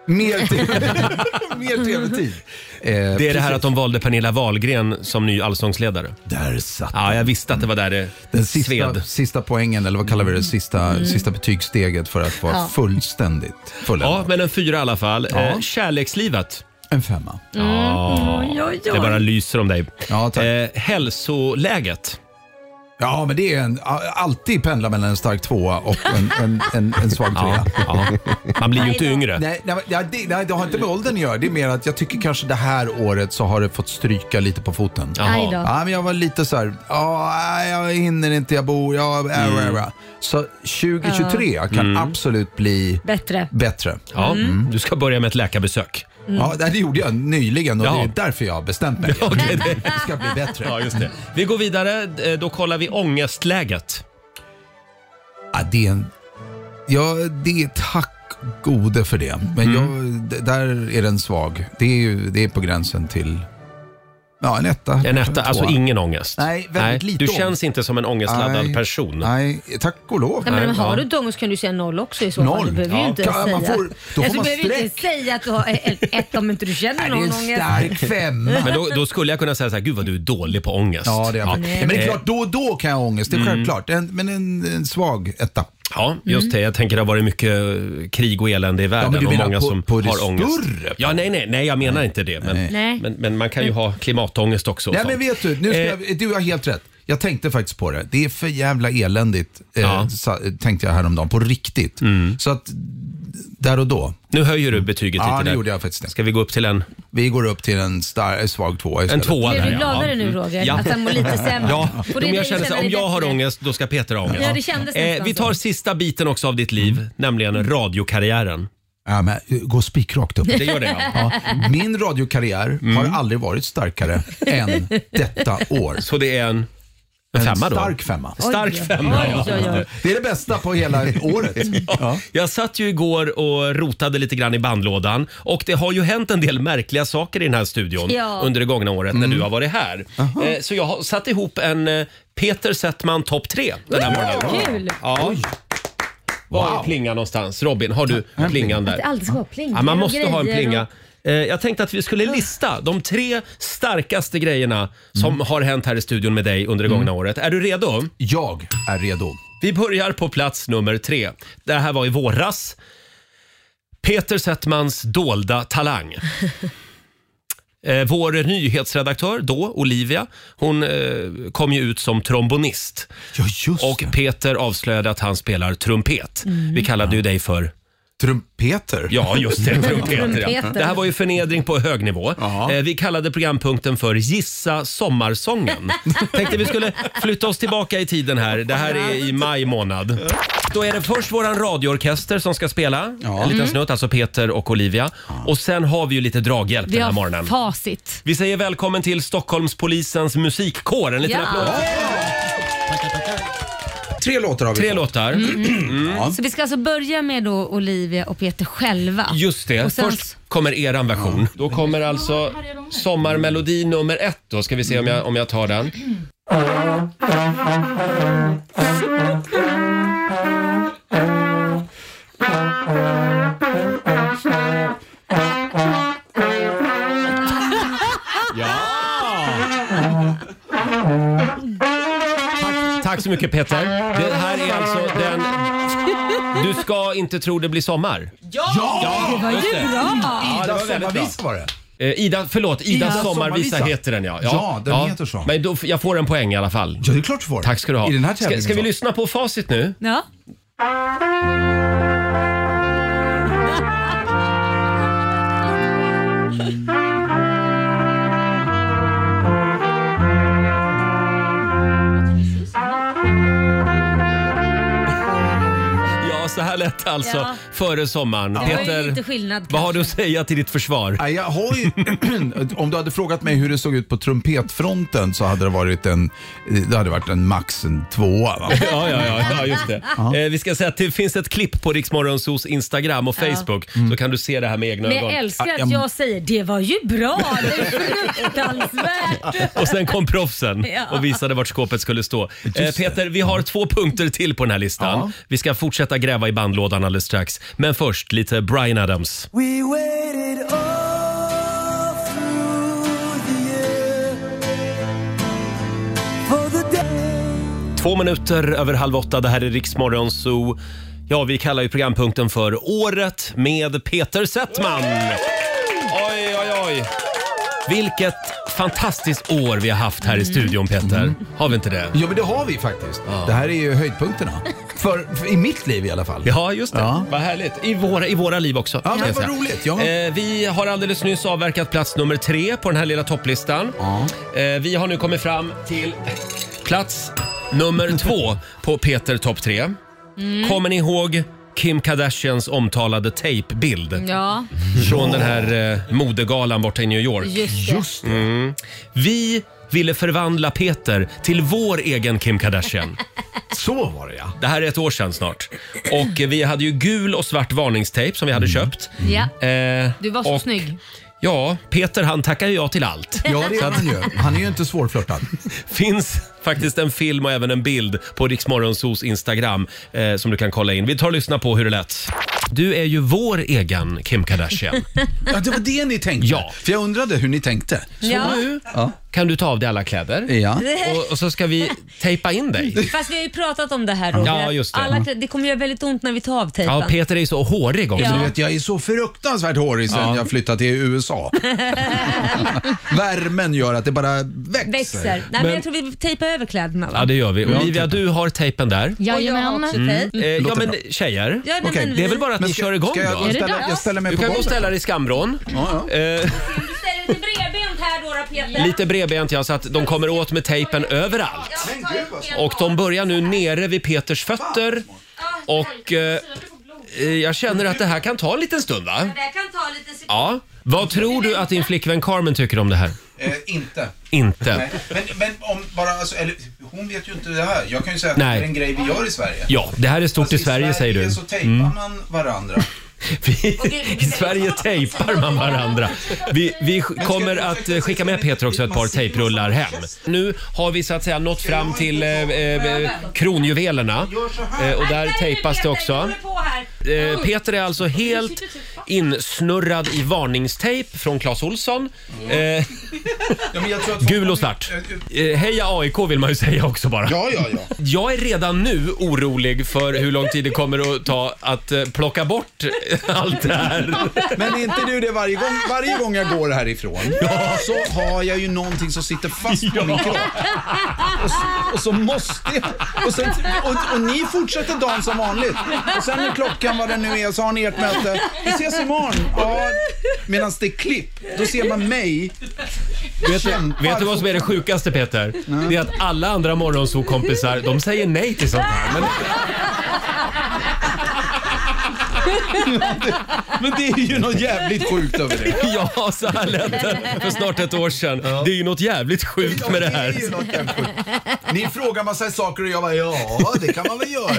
[SPEAKER 8] Mer tid.
[SPEAKER 1] <laughs>
[SPEAKER 8] Mer tv-tid. Eh,
[SPEAKER 1] Det är det här att de valde Pernilla Wahlgren som ny allsångsledare.
[SPEAKER 8] Där satt
[SPEAKER 1] Ja, jag visste att det var där det
[SPEAKER 8] den
[SPEAKER 1] sved.
[SPEAKER 8] sista, sista poängen, eller vad kallar vi det, sista, sista betygssteget för att vara fullständigt
[SPEAKER 1] Ja,
[SPEAKER 8] fulländad.
[SPEAKER 1] men en fyra i alla fall. Eh, Kärlekslivet.
[SPEAKER 8] En femma.
[SPEAKER 2] Oj, oj,
[SPEAKER 1] Det bara
[SPEAKER 2] oj.
[SPEAKER 1] lyser om dig.
[SPEAKER 8] Ja, tack.
[SPEAKER 1] Eh, hälsoläget.
[SPEAKER 8] Ja, men det är en, alltid pendla mellan en stark tvåa och en, en, en, en svag trea.
[SPEAKER 1] Ja, ja. Man blir ju inte yngre.
[SPEAKER 8] Nej, nej, men- ja, det, nej, det har inte med åldern att göra. Det är mer att jag tycker kanske det här året så har det fått stryka lite på foten. Ja.
[SPEAKER 2] Aj då.
[SPEAKER 8] men jag var lite så här, "Ja, nej, jag hinner inte, jag bor, jag... Äh, äh, äh." Så 2023 kan absolut bli
[SPEAKER 2] Bättre.
[SPEAKER 8] bättre.
[SPEAKER 1] Ja,
[SPEAKER 8] Mm.
[SPEAKER 1] Du ska börja med ett
[SPEAKER 8] <laughs>
[SPEAKER 1] läkarbesök.
[SPEAKER 8] Ja, det gjorde jag nyligen och det
[SPEAKER 1] Jaha.
[SPEAKER 8] är därför jag har bestämt mig.
[SPEAKER 1] Okej, det-
[SPEAKER 8] Det ska bli bättre.
[SPEAKER 1] ja, just det. Vi går vidare. Eh, Då kollar vi ångestläget.
[SPEAKER 8] Ja, det är en... Ja, det är tack gode för
[SPEAKER 1] Mm.
[SPEAKER 8] det. Men jag, d- där är den svag. Det är ju det är på gränsen till Ja, en etta.
[SPEAKER 1] En etta,
[SPEAKER 8] En
[SPEAKER 1] alltså
[SPEAKER 8] tvåa.
[SPEAKER 1] ingen ångest.
[SPEAKER 8] Nej, väldigt lite
[SPEAKER 1] Du
[SPEAKER 8] ångest.
[SPEAKER 1] känns inte som en ångestladdad
[SPEAKER 8] Nej.
[SPEAKER 1] person.
[SPEAKER 8] Nej, tack och lov.
[SPEAKER 2] Nej, men
[SPEAKER 1] Nej,
[SPEAKER 2] har
[SPEAKER 1] ja.
[SPEAKER 2] du inte ångest kan du säga noll också i så fall.
[SPEAKER 8] Noll.
[SPEAKER 2] Du behöver ju
[SPEAKER 8] Ja.
[SPEAKER 2] inte
[SPEAKER 8] Ja,
[SPEAKER 2] säga...
[SPEAKER 8] man får- då får
[SPEAKER 2] alltså, du
[SPEAKER 8] man
[SPEAKER 2] behöver ju inte säga att du har ett, ett om inte du känner
[SPEAKER 8] Nej, det är
[SPEAKER 2] någon
[SPEAKER 8] en
[SPEAKER 2] ångest.
[SPEAKER 8] stark femma.
[SPEAKER 1] Men då, då skulle jag kunna säga så här, gud vad du är dålig på ångest.
[SPEAKER 8] Ja, det är jag.
[SPEAKER 1] ja. Eh, Mm.
[SPEAKER 8] Nej, Men det är klart, då och då kan jag ha ångest. Det är självklart. En, men en, en svag etta.
[SPEAKER 1] Ja, just det. Jag tänker det har varit mycket eh, krig och elände i världen
[SPEAKER 8] men du
[SPEAKER 1] och
[SPEAKER 8] menar
[SPEAKER 1] många
[SPEAKER 8] på-
[SPEAKER 1] som
[SPEAKER 8] på det
[SPEAKER 1] har ångest.
[SPEAKER 8] större?
[SPEAKER 1] Ja, nej, nej, nej, jag menar inte det. Men,
[SPEAKER 2] Nej.
[SPEAKER 1] men, men man kan ju ha klimatångest också. och
[SPEAKER 8] Nej
[SPEAKER 1] sånt.
[SPEAKER 8] men vet du, nu ska
[SPEAKER 1] Eh.
[SPEAKER 8] jag, du har helt rätt. Jag tänkte faktiskt på det. Det är för jävla eländigt, eh,
[SPEAKER 1] Ja. Mm.
[SPEAKER 8] sa, tänkte jag häromdagen, på riktigt. Så att, där och då.
[SPEAKER 1] Nu höjer du betyget
[SPEAKER 8] Ja,
[SPEAKER 1] lite
[SPEAKER 8] det
[SPEAKER 1] där.
[SPEAKER 8] gjorde jag faktiskt det.
[SPEAKER 1] Ska vi gå upp till en,
[SPEAKER 8] Vi går upp till en star, en svag tvåa
[SPEAKER 1] en
[SPEAKER 8] istället.
[SPEAKER 1] tvåa?
[SPEAKER 2] Blev
[SPEAKER 1] där,
[SPEAKER 2] du
[SPEAKER 1] ja.
[SPEAKER 2] gladare
[SPEAKER 1] Ja.
[SPEAKER 2] nu
[SPEAKER 1] Mm.
[SPEAKER 2] Roger?
[SPEAKER 1] Ja.
[SPEAKER 2] Att han Alltså, mår lite sämre?
[SPEAKER 1] Ja,
[SPEAKER 2] Får
[SPEAKER 1] men
[SPEAKER 2] det
[SPEAKER 1] jag
[SPEAKER 2] dig
[SPEAKER 1] känner så,
[SPEAKER 2] känna
[SPEAKER 1] om
[SPEAKER 2] dig
[SPEAKER 1] jag har
[SPEAKER 2] bättre?
[SPEAKER 1] ångest, då ska Peter ha ångest.
[SPEAKER 2] Ja, det kändes
[SPEAKER 1] Eh,
[SPEAKER 2] nästan
[SPEAKER 1] vi tar
[SPEAKER 2] så.
[SPEAKER 1] sista biten också av ditt liv, nämligen radiokarriären.
[SPEAKER 8] Ja, men, eh, gå
[SPEAKER 1] <laughs>
[SPEAKER 8] spikrakt upp.
[SPEAKER 1] Det gör det ja.
[SPEAKER 8] Ja, min radiokarriär
[SPEAKER 1] Mm.
[SPEAKER 8] har aldrig varit starkare än detta år.
[SPEAKER 1] Så det är en, en
[SPEAKER 8] En
[SPEAKER 1] femma då?
[SPEAKER 8] stark femma.
[SPEAKER 1] Stark femma.
[SPEAKER 2] Oj, oj, oj.
[SPEAKER 8] Det är det bästa på hela
[SPEAKER 1] <laughs>
[SPEAKER 8] året. Ja.
[SPEAKER 1] Jag satt ju igår och rotade lite grann i bandlådan och det har ju hänt en del märkliga saker i den här studion
[SPEAKER 2] Ja.
[SPEAKER 1] under det gångna året när du har varit här. Eh, Så jag har satt ihop en eh, Peter Settman topp tre den här morgonen.
[SPEAKER 2] Kul!
[SPEAKER 1] Ja. Var är plingan någonstans? Robin, har du plingan
[SPEAKER 2] Det
[SPEAKER 1] där?
[SPEAKER 2] alltid ska vara pling.
[SPEAKER 1] Ja, man
[SPEAKER 2] och
[SPEAKER 1] måste ha en
[SPEAKER 2] grejer och-
[SPEAKER 1] plinga. Eh, Jag tänkte att vi skulle lista de tre starkaste grejerna som
[SPEAKER 2] Mm.
[SPEAKER 1] har hänt här i studion med dig under det gångna året. Är du redo?
[SPEAKER 8] Jag är redo.
[SPEAKER 1] Vi börjar på plats nummer tre. Det här var i våras. Peter Settmans dolda
[SPEAKER 2] <laughs>
[SPEAKER 1] talang. Eh, Vår nyhetsredaktör då, Olivia, hon eh, kom ju ut som trombonist.
[SPEAKER 8] Ja, just
[SPEAKER 1] Och
[SPEAKER 8] det.
[SPEAKER 1] Peter avslöjade att han spelar trumpet.
[SPEAKER 2] Mm.
[SPEAKER 1] Vi kallade ju dig för
[SPEAKER 8] Trumpeter.
[SPEAKER 1] Ja, just det. Trumpeter. Ja.
[SPEAKER 2] Trumpeter.
[SPEAKER 1] Det här var ju förnedring på hög nivå.
[SPEAKER 8] Ja.
[SPEAKER 1] Eh, Vi kallade programpunkten för Gissa sommarsången. Tänkte vi skulle flytta oss tillbaka i tiden här. Det här är i maj månad. Då är det först våran radioorkester som ska spela. En liten snutt, alltså Peter och Olivia. Och sen har vi ju lite draghjälp
[SPEAKER 2] Vi
[SPEAKER 1] den här
[SPEAKER 2] har
[SPEAKER 1] morgonen.
[SPEAKER 2] facit.
[SPEAKER 1] Vi säger välkommen till Stockholmspolisens musikkår. En liten applåd.
[SPEAKER 2] Ja,
[SPEAKER 8] Tre låtar har vi
[SPEAKER 1] Tre
[SPEAKER 8] fått.
[SPEAKER 1] låtar.
[SPEAKER 2] Mm. så vi ska alltså börja med då Olivia och Peter själva.
[SPEAKER 1] Just det.
[SPEAKER 2] Och sen-
[SPEAKER 1] Först kommer eran version. Då kommer alltså sommarmelodi nummer ett. Då ska vi se om jag, om jag tar den. Tack- Tack så mycket Peter. Det här är alltså den... Du ska inte tro det blir sommar.
[SPEAKER 8] Ja!
[SPEAKER 2] Det var
[SPEAKER 1] Just det.
[SPEAKER 2] ju bra!
[SPEAKER 1] Ja, det
[SPEAKER 8] Ida
[SPEAKER 1] var väldigt bra.
[SPEAKER 8] Sommarvisa var det.
[SPEAKER 1] Eh, Ida, förlåt, Ida
[SPEAKER 2] Ida
[SPEAKER 1] sommarvisa
[SPEAKER 8] Sommarvisa.
[SPEAKER 1] heter den ja.
[SPEAKER 8] Ja, den heter så.
[SPEAKER 1] Men då, f- jag får en poäng i alla fall.
[SPEAKER 8] Ja, det är klart du får.
[SPEAKER 1] Tack ska du ha.
[SPEAKER 8] I den här
[SPEAKER 1] ska,
[SPEAKER 8] tävlingen.
[SPEAKER 1] ska vi lyssna på facit nu?
[SPEAKER 2] Ja.
[SPEAKER 1] Ja, så här lät det alltså
[SPEAKER 2] Ja.
[SPEAKER 1] före sommaren.
[SPEAKER 2] Det var ju lite
[SPEAKER 1] Peter,
[SPEAKER 2] skillnad
[SPEAKER 1] vad har
[SPEAKER 2] kanske.
[SPEAKER 1] du att säga till ditt försvar?
[SPEAKER 8] Nej, jag har ju, <clears throat> om du hade frågat mig hur det såg ut på trumpetfronten så hade det varit en, det hade varit en max en
[SPEAKER 1] <laughs>
[SPEAKER 8] tvåa. Va?
[SPEAKER 1] Ja, ja, ja, ja just det. <laughs> Eh, vi ska säga att det finns ett klipp på Riksmorgonsos Instagram och Facebook så kan du se det här med egna
[SPEAKER 2] Men
[SPEAKER 1] ögon.
[SPEAKER 2] jag älskar
[SPEAKER 8] Ja,
[SPEAKER 2] att
[SPEAKER 8] jag-
[SPEAKER 2] jag säger det var ju bra, det är fruktansvärt.
[SPEAKER 1] <laughs> Och sen kom proffsen
[SPEAKER 2] Ja.
[SPEAKER 1] och visade vart skåpet skulle stå. Eh, Peter, vi har två punkter till på den här listan. Vi ska fortsätta gräva i bandlådan alldeles strax. Men först lite Bryan Adams. Två minuter över halv åtta, det här är Riksmorgon Zoo. Ja, vi kallar ju programpunkten för Året med Peter Settman. Oj, oj, oj. Vilket fantastiskt år vi har haft här i
[SPEAKER 8] Mm.
[SPEAKER 1] studion, Peter. Har vi inte det?
[SPEAKER 8] Ja, men det har vi faktiskt. Det här är ju höjdpunkterna. För, för, I mitt liv i alla fall.
[SPEAKER 1] Ja, just det.
[SPEAKER 8] Ja.
[SPEAKER 1] Vad härligt. I våra, I våra liv också. kan
[SPEAKER 8] men
[SPEAKER 1] jag
[SPEAKER 8] vad
[SPEAKER 1] säga.
[SPEAKER 8] roligt, ja.
[SPEAKER 1] Eh, vi har alldeles nyss avverkat plats nummer tre på den här lilla topplistan. Eh, vi har nu kommit fram till plats nummer två på Peter topp tre.
[SPEAKER 8] Mm.
[SPEAKER 1] Kommer ni ihåg Kim Kardashians omtalade tejpbild
[SPEAKER 2] Ja,
[SPEAKER 1] från den här eh, modegalan borta i New York?
[SPEAKER 2] just det.
[SPEAKER 8] Just det.
[SPEAKER 1] Vi ville förvandla Peter till vår egen Kim Kardashian.
[SPEAKER 8] Så var det ja.
[SPEAKER 1] Det här är ett år sedan snart. Och eh, vi hade ju gul och svart varningstejp som vi hade köpt.
[SPEAKER 2] Mm. Ja.
[SPEAKER 1] Eh,
[SPEAKER 2] Du var så
[SPEAKER 1] och
[SPEAKER 2] snygg.
[SPEAKER 1] Ja, Peter han tackar ju ja till
[SPEAKER 2] <laughs>
[SPEAKER 1] allt.
[SPEAKER 8] Ja, det
[SPEAKER 1] Så
[SPEAKER 8] är
[SPEAKER 1] att-
[SPEAKER 8] han ju. Han är ju inte svårflörtad.
[SPEAKER 1] finns faktiskt en film och även en bild på Riksmorgonsos Instagram eh, som du kan kolla in. Vi tar och lyssnar på hur det lät. Du är ju vår egen Kim
[SPEAKER 2] <laughs>
[SPEAKER 1] Kardashian.
[SPEAKER 8] Ja, det var det ni tänkte.
[SPEAKER 1] Ja.
[SPEAKER 8] För jag undrade hur ni tänkte.
[SPEAKER 2] Ja.
[SPEAKER 8] Ja.
[SPEAKER 1] Kan du ta av dig alla kläder?
[SPEAKER 8] Ja.
[SPEAKER 1] Och, och så ska vi tejpa in
[SPEAKER 2] <laughs>
[SPEAKER 1] dig.
[SPEAKER 2] Fast vi har ju pratat om det här Roger.
[SPEAKER 1] Ja, just det.
[SPEAKER 2] Alla, klä- det kommer göra väldigt ont när vi tar av tejpen.
[SPEAKER 1] Ja, Peter är ju så hårig också.
[SPEAKER 8] Du
[SPEAKER 2] Ja.
[SPEAKER 8] vet, jag är så fruktansvärt hårig sen jag flyttade till
[SPEAKER 1] <laughs>
[SPEAKER 8] USA. Värmen gör att det bara växer.
[SPEAKER 2] Växer. Nej, men,
[SPEAKER 1] Men-
[SPEAKER 2] jag tror vi tejpar över kläderna va?
[SPEAKER 1] Ja, det gör vi. Olivia, du har tejpen där.
[SPEAKER 11] Jajamän.
[SPEAKER 2] tejp.
[SPEAKER 1] Eh, Mm. ja, men tjejer.
[SPEAKER 2] Ja, nej,
[SPEAKER 8] Okej,
[SPEAKER 2] men
[SPEAKER 1] Det är
[SPEAKER 2] vi-
[SPEAKER 1] väl bara att ni kör igång
[SPEAKER 8] ska jag, gå och
[SPEAKER 11] Är
[SPEAKER 1] då?
[SPEAKER 11] det
[SPEAKER 8] ställa,
[SPEAKER 11] dags?
[SPEAKER 8] jag ställer mig
[SPEAKER 1] Du
[SPEAKER 8] på
[SPEAKER 1] kan gå och
[SPEAKER 8] golvet.
[SPEAKER 1] ställa dig i skamvrån.
[SPEAKER 8] Ja, ja.
[SPEAKER 1] Eh,
[SPEAKER 2] Ställ dig lite bredbent här då, då Peter.
[SPEAKER 1] lite bredbent ja, så att de kommer åt med tejpen överallt. Och de börjar nu nere vid Peters fötter. Och eh, eh, jag känner att det här kan ta en liten stund va?
[SPEAKER 2] Det här kan ta lite sekund.
[SPEAKER 1] Ja. Vad tror du att din flickvän Carmen tycker om det här?
[SPEAKER 12] Eh, inte.
[SPEAKER 1] Inte.
[SPEAKER 12] Nej. Men, men om bara, alltså, eller, hon vet ju inte det här. Jag kan ju säga att
[SPEAKER 1] Nej.
[SPEAKER 12] det är en grej vi gör i Sverige.
[SPEAKER 1] Ja, det här är stort
[SPEAKER 12] Alltså,
[SPEAKER 1] i Sverige säger du. Mm.
[SPEAKER 12] så tejpar man varandra.
[SPEAKER 1] Vi, I Sverige tejpar man varandra. Vi, vi sk- kommer att eh, skicka med Peter också ett par tejprullar hem. Nu har vi så att säga nått fram till eh, eh, kronjuvelerna eh, och där tejpas det också. Eh, Peter är alltså helt insnurrad i varningstejp från Clas Olsson. Eh,
[SPEAKER 12] Ja, men jag tror att
[SPEAKER 1] gul och svart. Eh, heja AIK vill man ju säga också bara.
[SPEAKER 12] Ja, ja, ja.
[SPEAKER 1] Jag är redan nu orolig för hur lång tid det kommer att ta att eh, plocka bort allt det här.
[SPEAKER 8] Men är inte du det varje gång, varje gång jag går härifrån? Så har jag ju någonting som sitter fast på min kropp. Och så, och så måste jag. Och, sen, och, och ni fortsätter dagen som vanligt. Och sen är klockan vad den nu är så har ni ert möte. Vi ses imorgon. Ja, Medan det är klipp, då ser man mig
[SPEAKER 1] Vet du, vet du vad som är det sjukaste Peter? Det är att alla andra morgonsokompisar, de säger nej till sånt här.
[SPEAKER 8] <laughs>
[SPEAKER 1] Men,
[SPEAKER 8] Men det är ju något jävligt sjukt över det.
[SPEAKER 1] ja, så här lät det för snart ett år sedan. Det är ju något jävligt sjukt med det här.
[SPEAKER 8] är ju något jävligt sjukt. Ni frågar massa saker och jag bara ja, det kan man väl göra.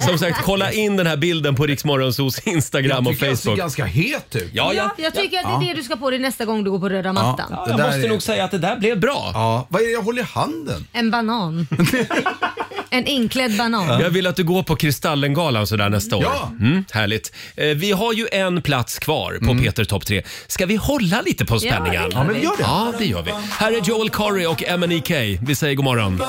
[SPEAKER 1] Som sagt, kolla in den här bilden på Riksmorgonsos Instagram och
[SPEAKER 8] tycker jag ser
[SPEAKER 1] Facebook.
[SPEAKER 8] ganska het ut.
[SPEAKER 1] Ja, ja.
[SPEAKER 2] Ja, jag tycker att det är det du ska på dig nästa gång du går på röda mattan.
[SPEAKER 1] Jag
[SPEAKER 8] där
[SPEAKER 1] måste
[SPEAKER 8] är-
[SPEAKER 1] nog säga att det där blev bra.
[SPEAKER 8] Ja, vad är det jag håller i handen?
[SPEAKER 1] <laughs>
[SPEAKER 2] En banan. en inklädd banan.
[SPEAKER 1] Jag vill att du går på Kristallengalan sådär nästa år.
[SPEAKER 8] Ja.
[SPEAKER 1] Mm, härligt. Eh, Vi har ju en plats kvar på Peter topp 3. Ska vi hålla lite på spänningen?
[SPEAKER 2] det gör Ja, men vi.
[SPEAKER 8] Mm. gör det.
[SPEAKER 1] Ja, det gör vi. Här är Joel Curry och MNEK. Vi säger god morgon.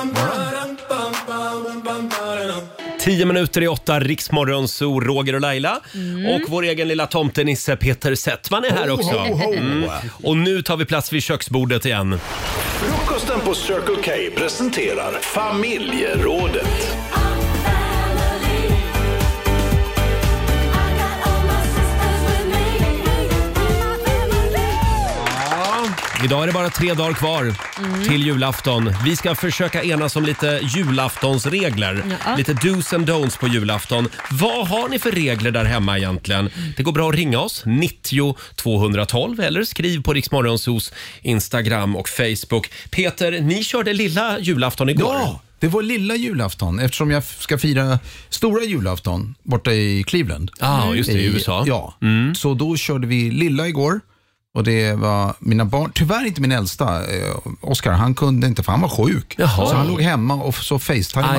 [SPEAKER 1] Tio minuter i åtta, Riksmorgon, så Roger och Laila.
[SPEAKER 2] Mm.
[SPEAKER 1] Och vår egen lilla tomtenisse Peter Settman är här också. Mm. Och nu tar vi plats vid köksbordet igen.
[SPEAKER 10] Frukosten på Circle K presenterar Familjerådet.
[SPEAKER 1] Idag är det bara tre dagar kvar till julafton. Vi ska försöka enas om lite julaftonsregler.
[SPEAKER 2] Ja.
[SPEAKER 1] Lite do's and don'ts på julafton. Vad har ni för regler där hemma egentligen? Det går bra att ringa oss, 90 212 eller skriv på Riksmorgonsos Instagram och Facebook. Peter, ni körde lilla julafton igår.
[SPEAKER 8] Ja, det var lilla julafton eftersom jag f- ska fira stora julafton borta i Cleveland.
[SPEAKER 1] Ah, just det, i USA.
[SPEAKER 8] Mm.
[SPEAKER 1] Mm.
[SPEAKER 8] Ja, så då körde vi lilla igår. Och det var mina barn, tyvärr inte min äldsta, eh, Oscar, han kunde inte för han var sjuk.
[SPEAKER 1] Jaha.
[SPEAKER 8] Så han låg hemma och så facetimade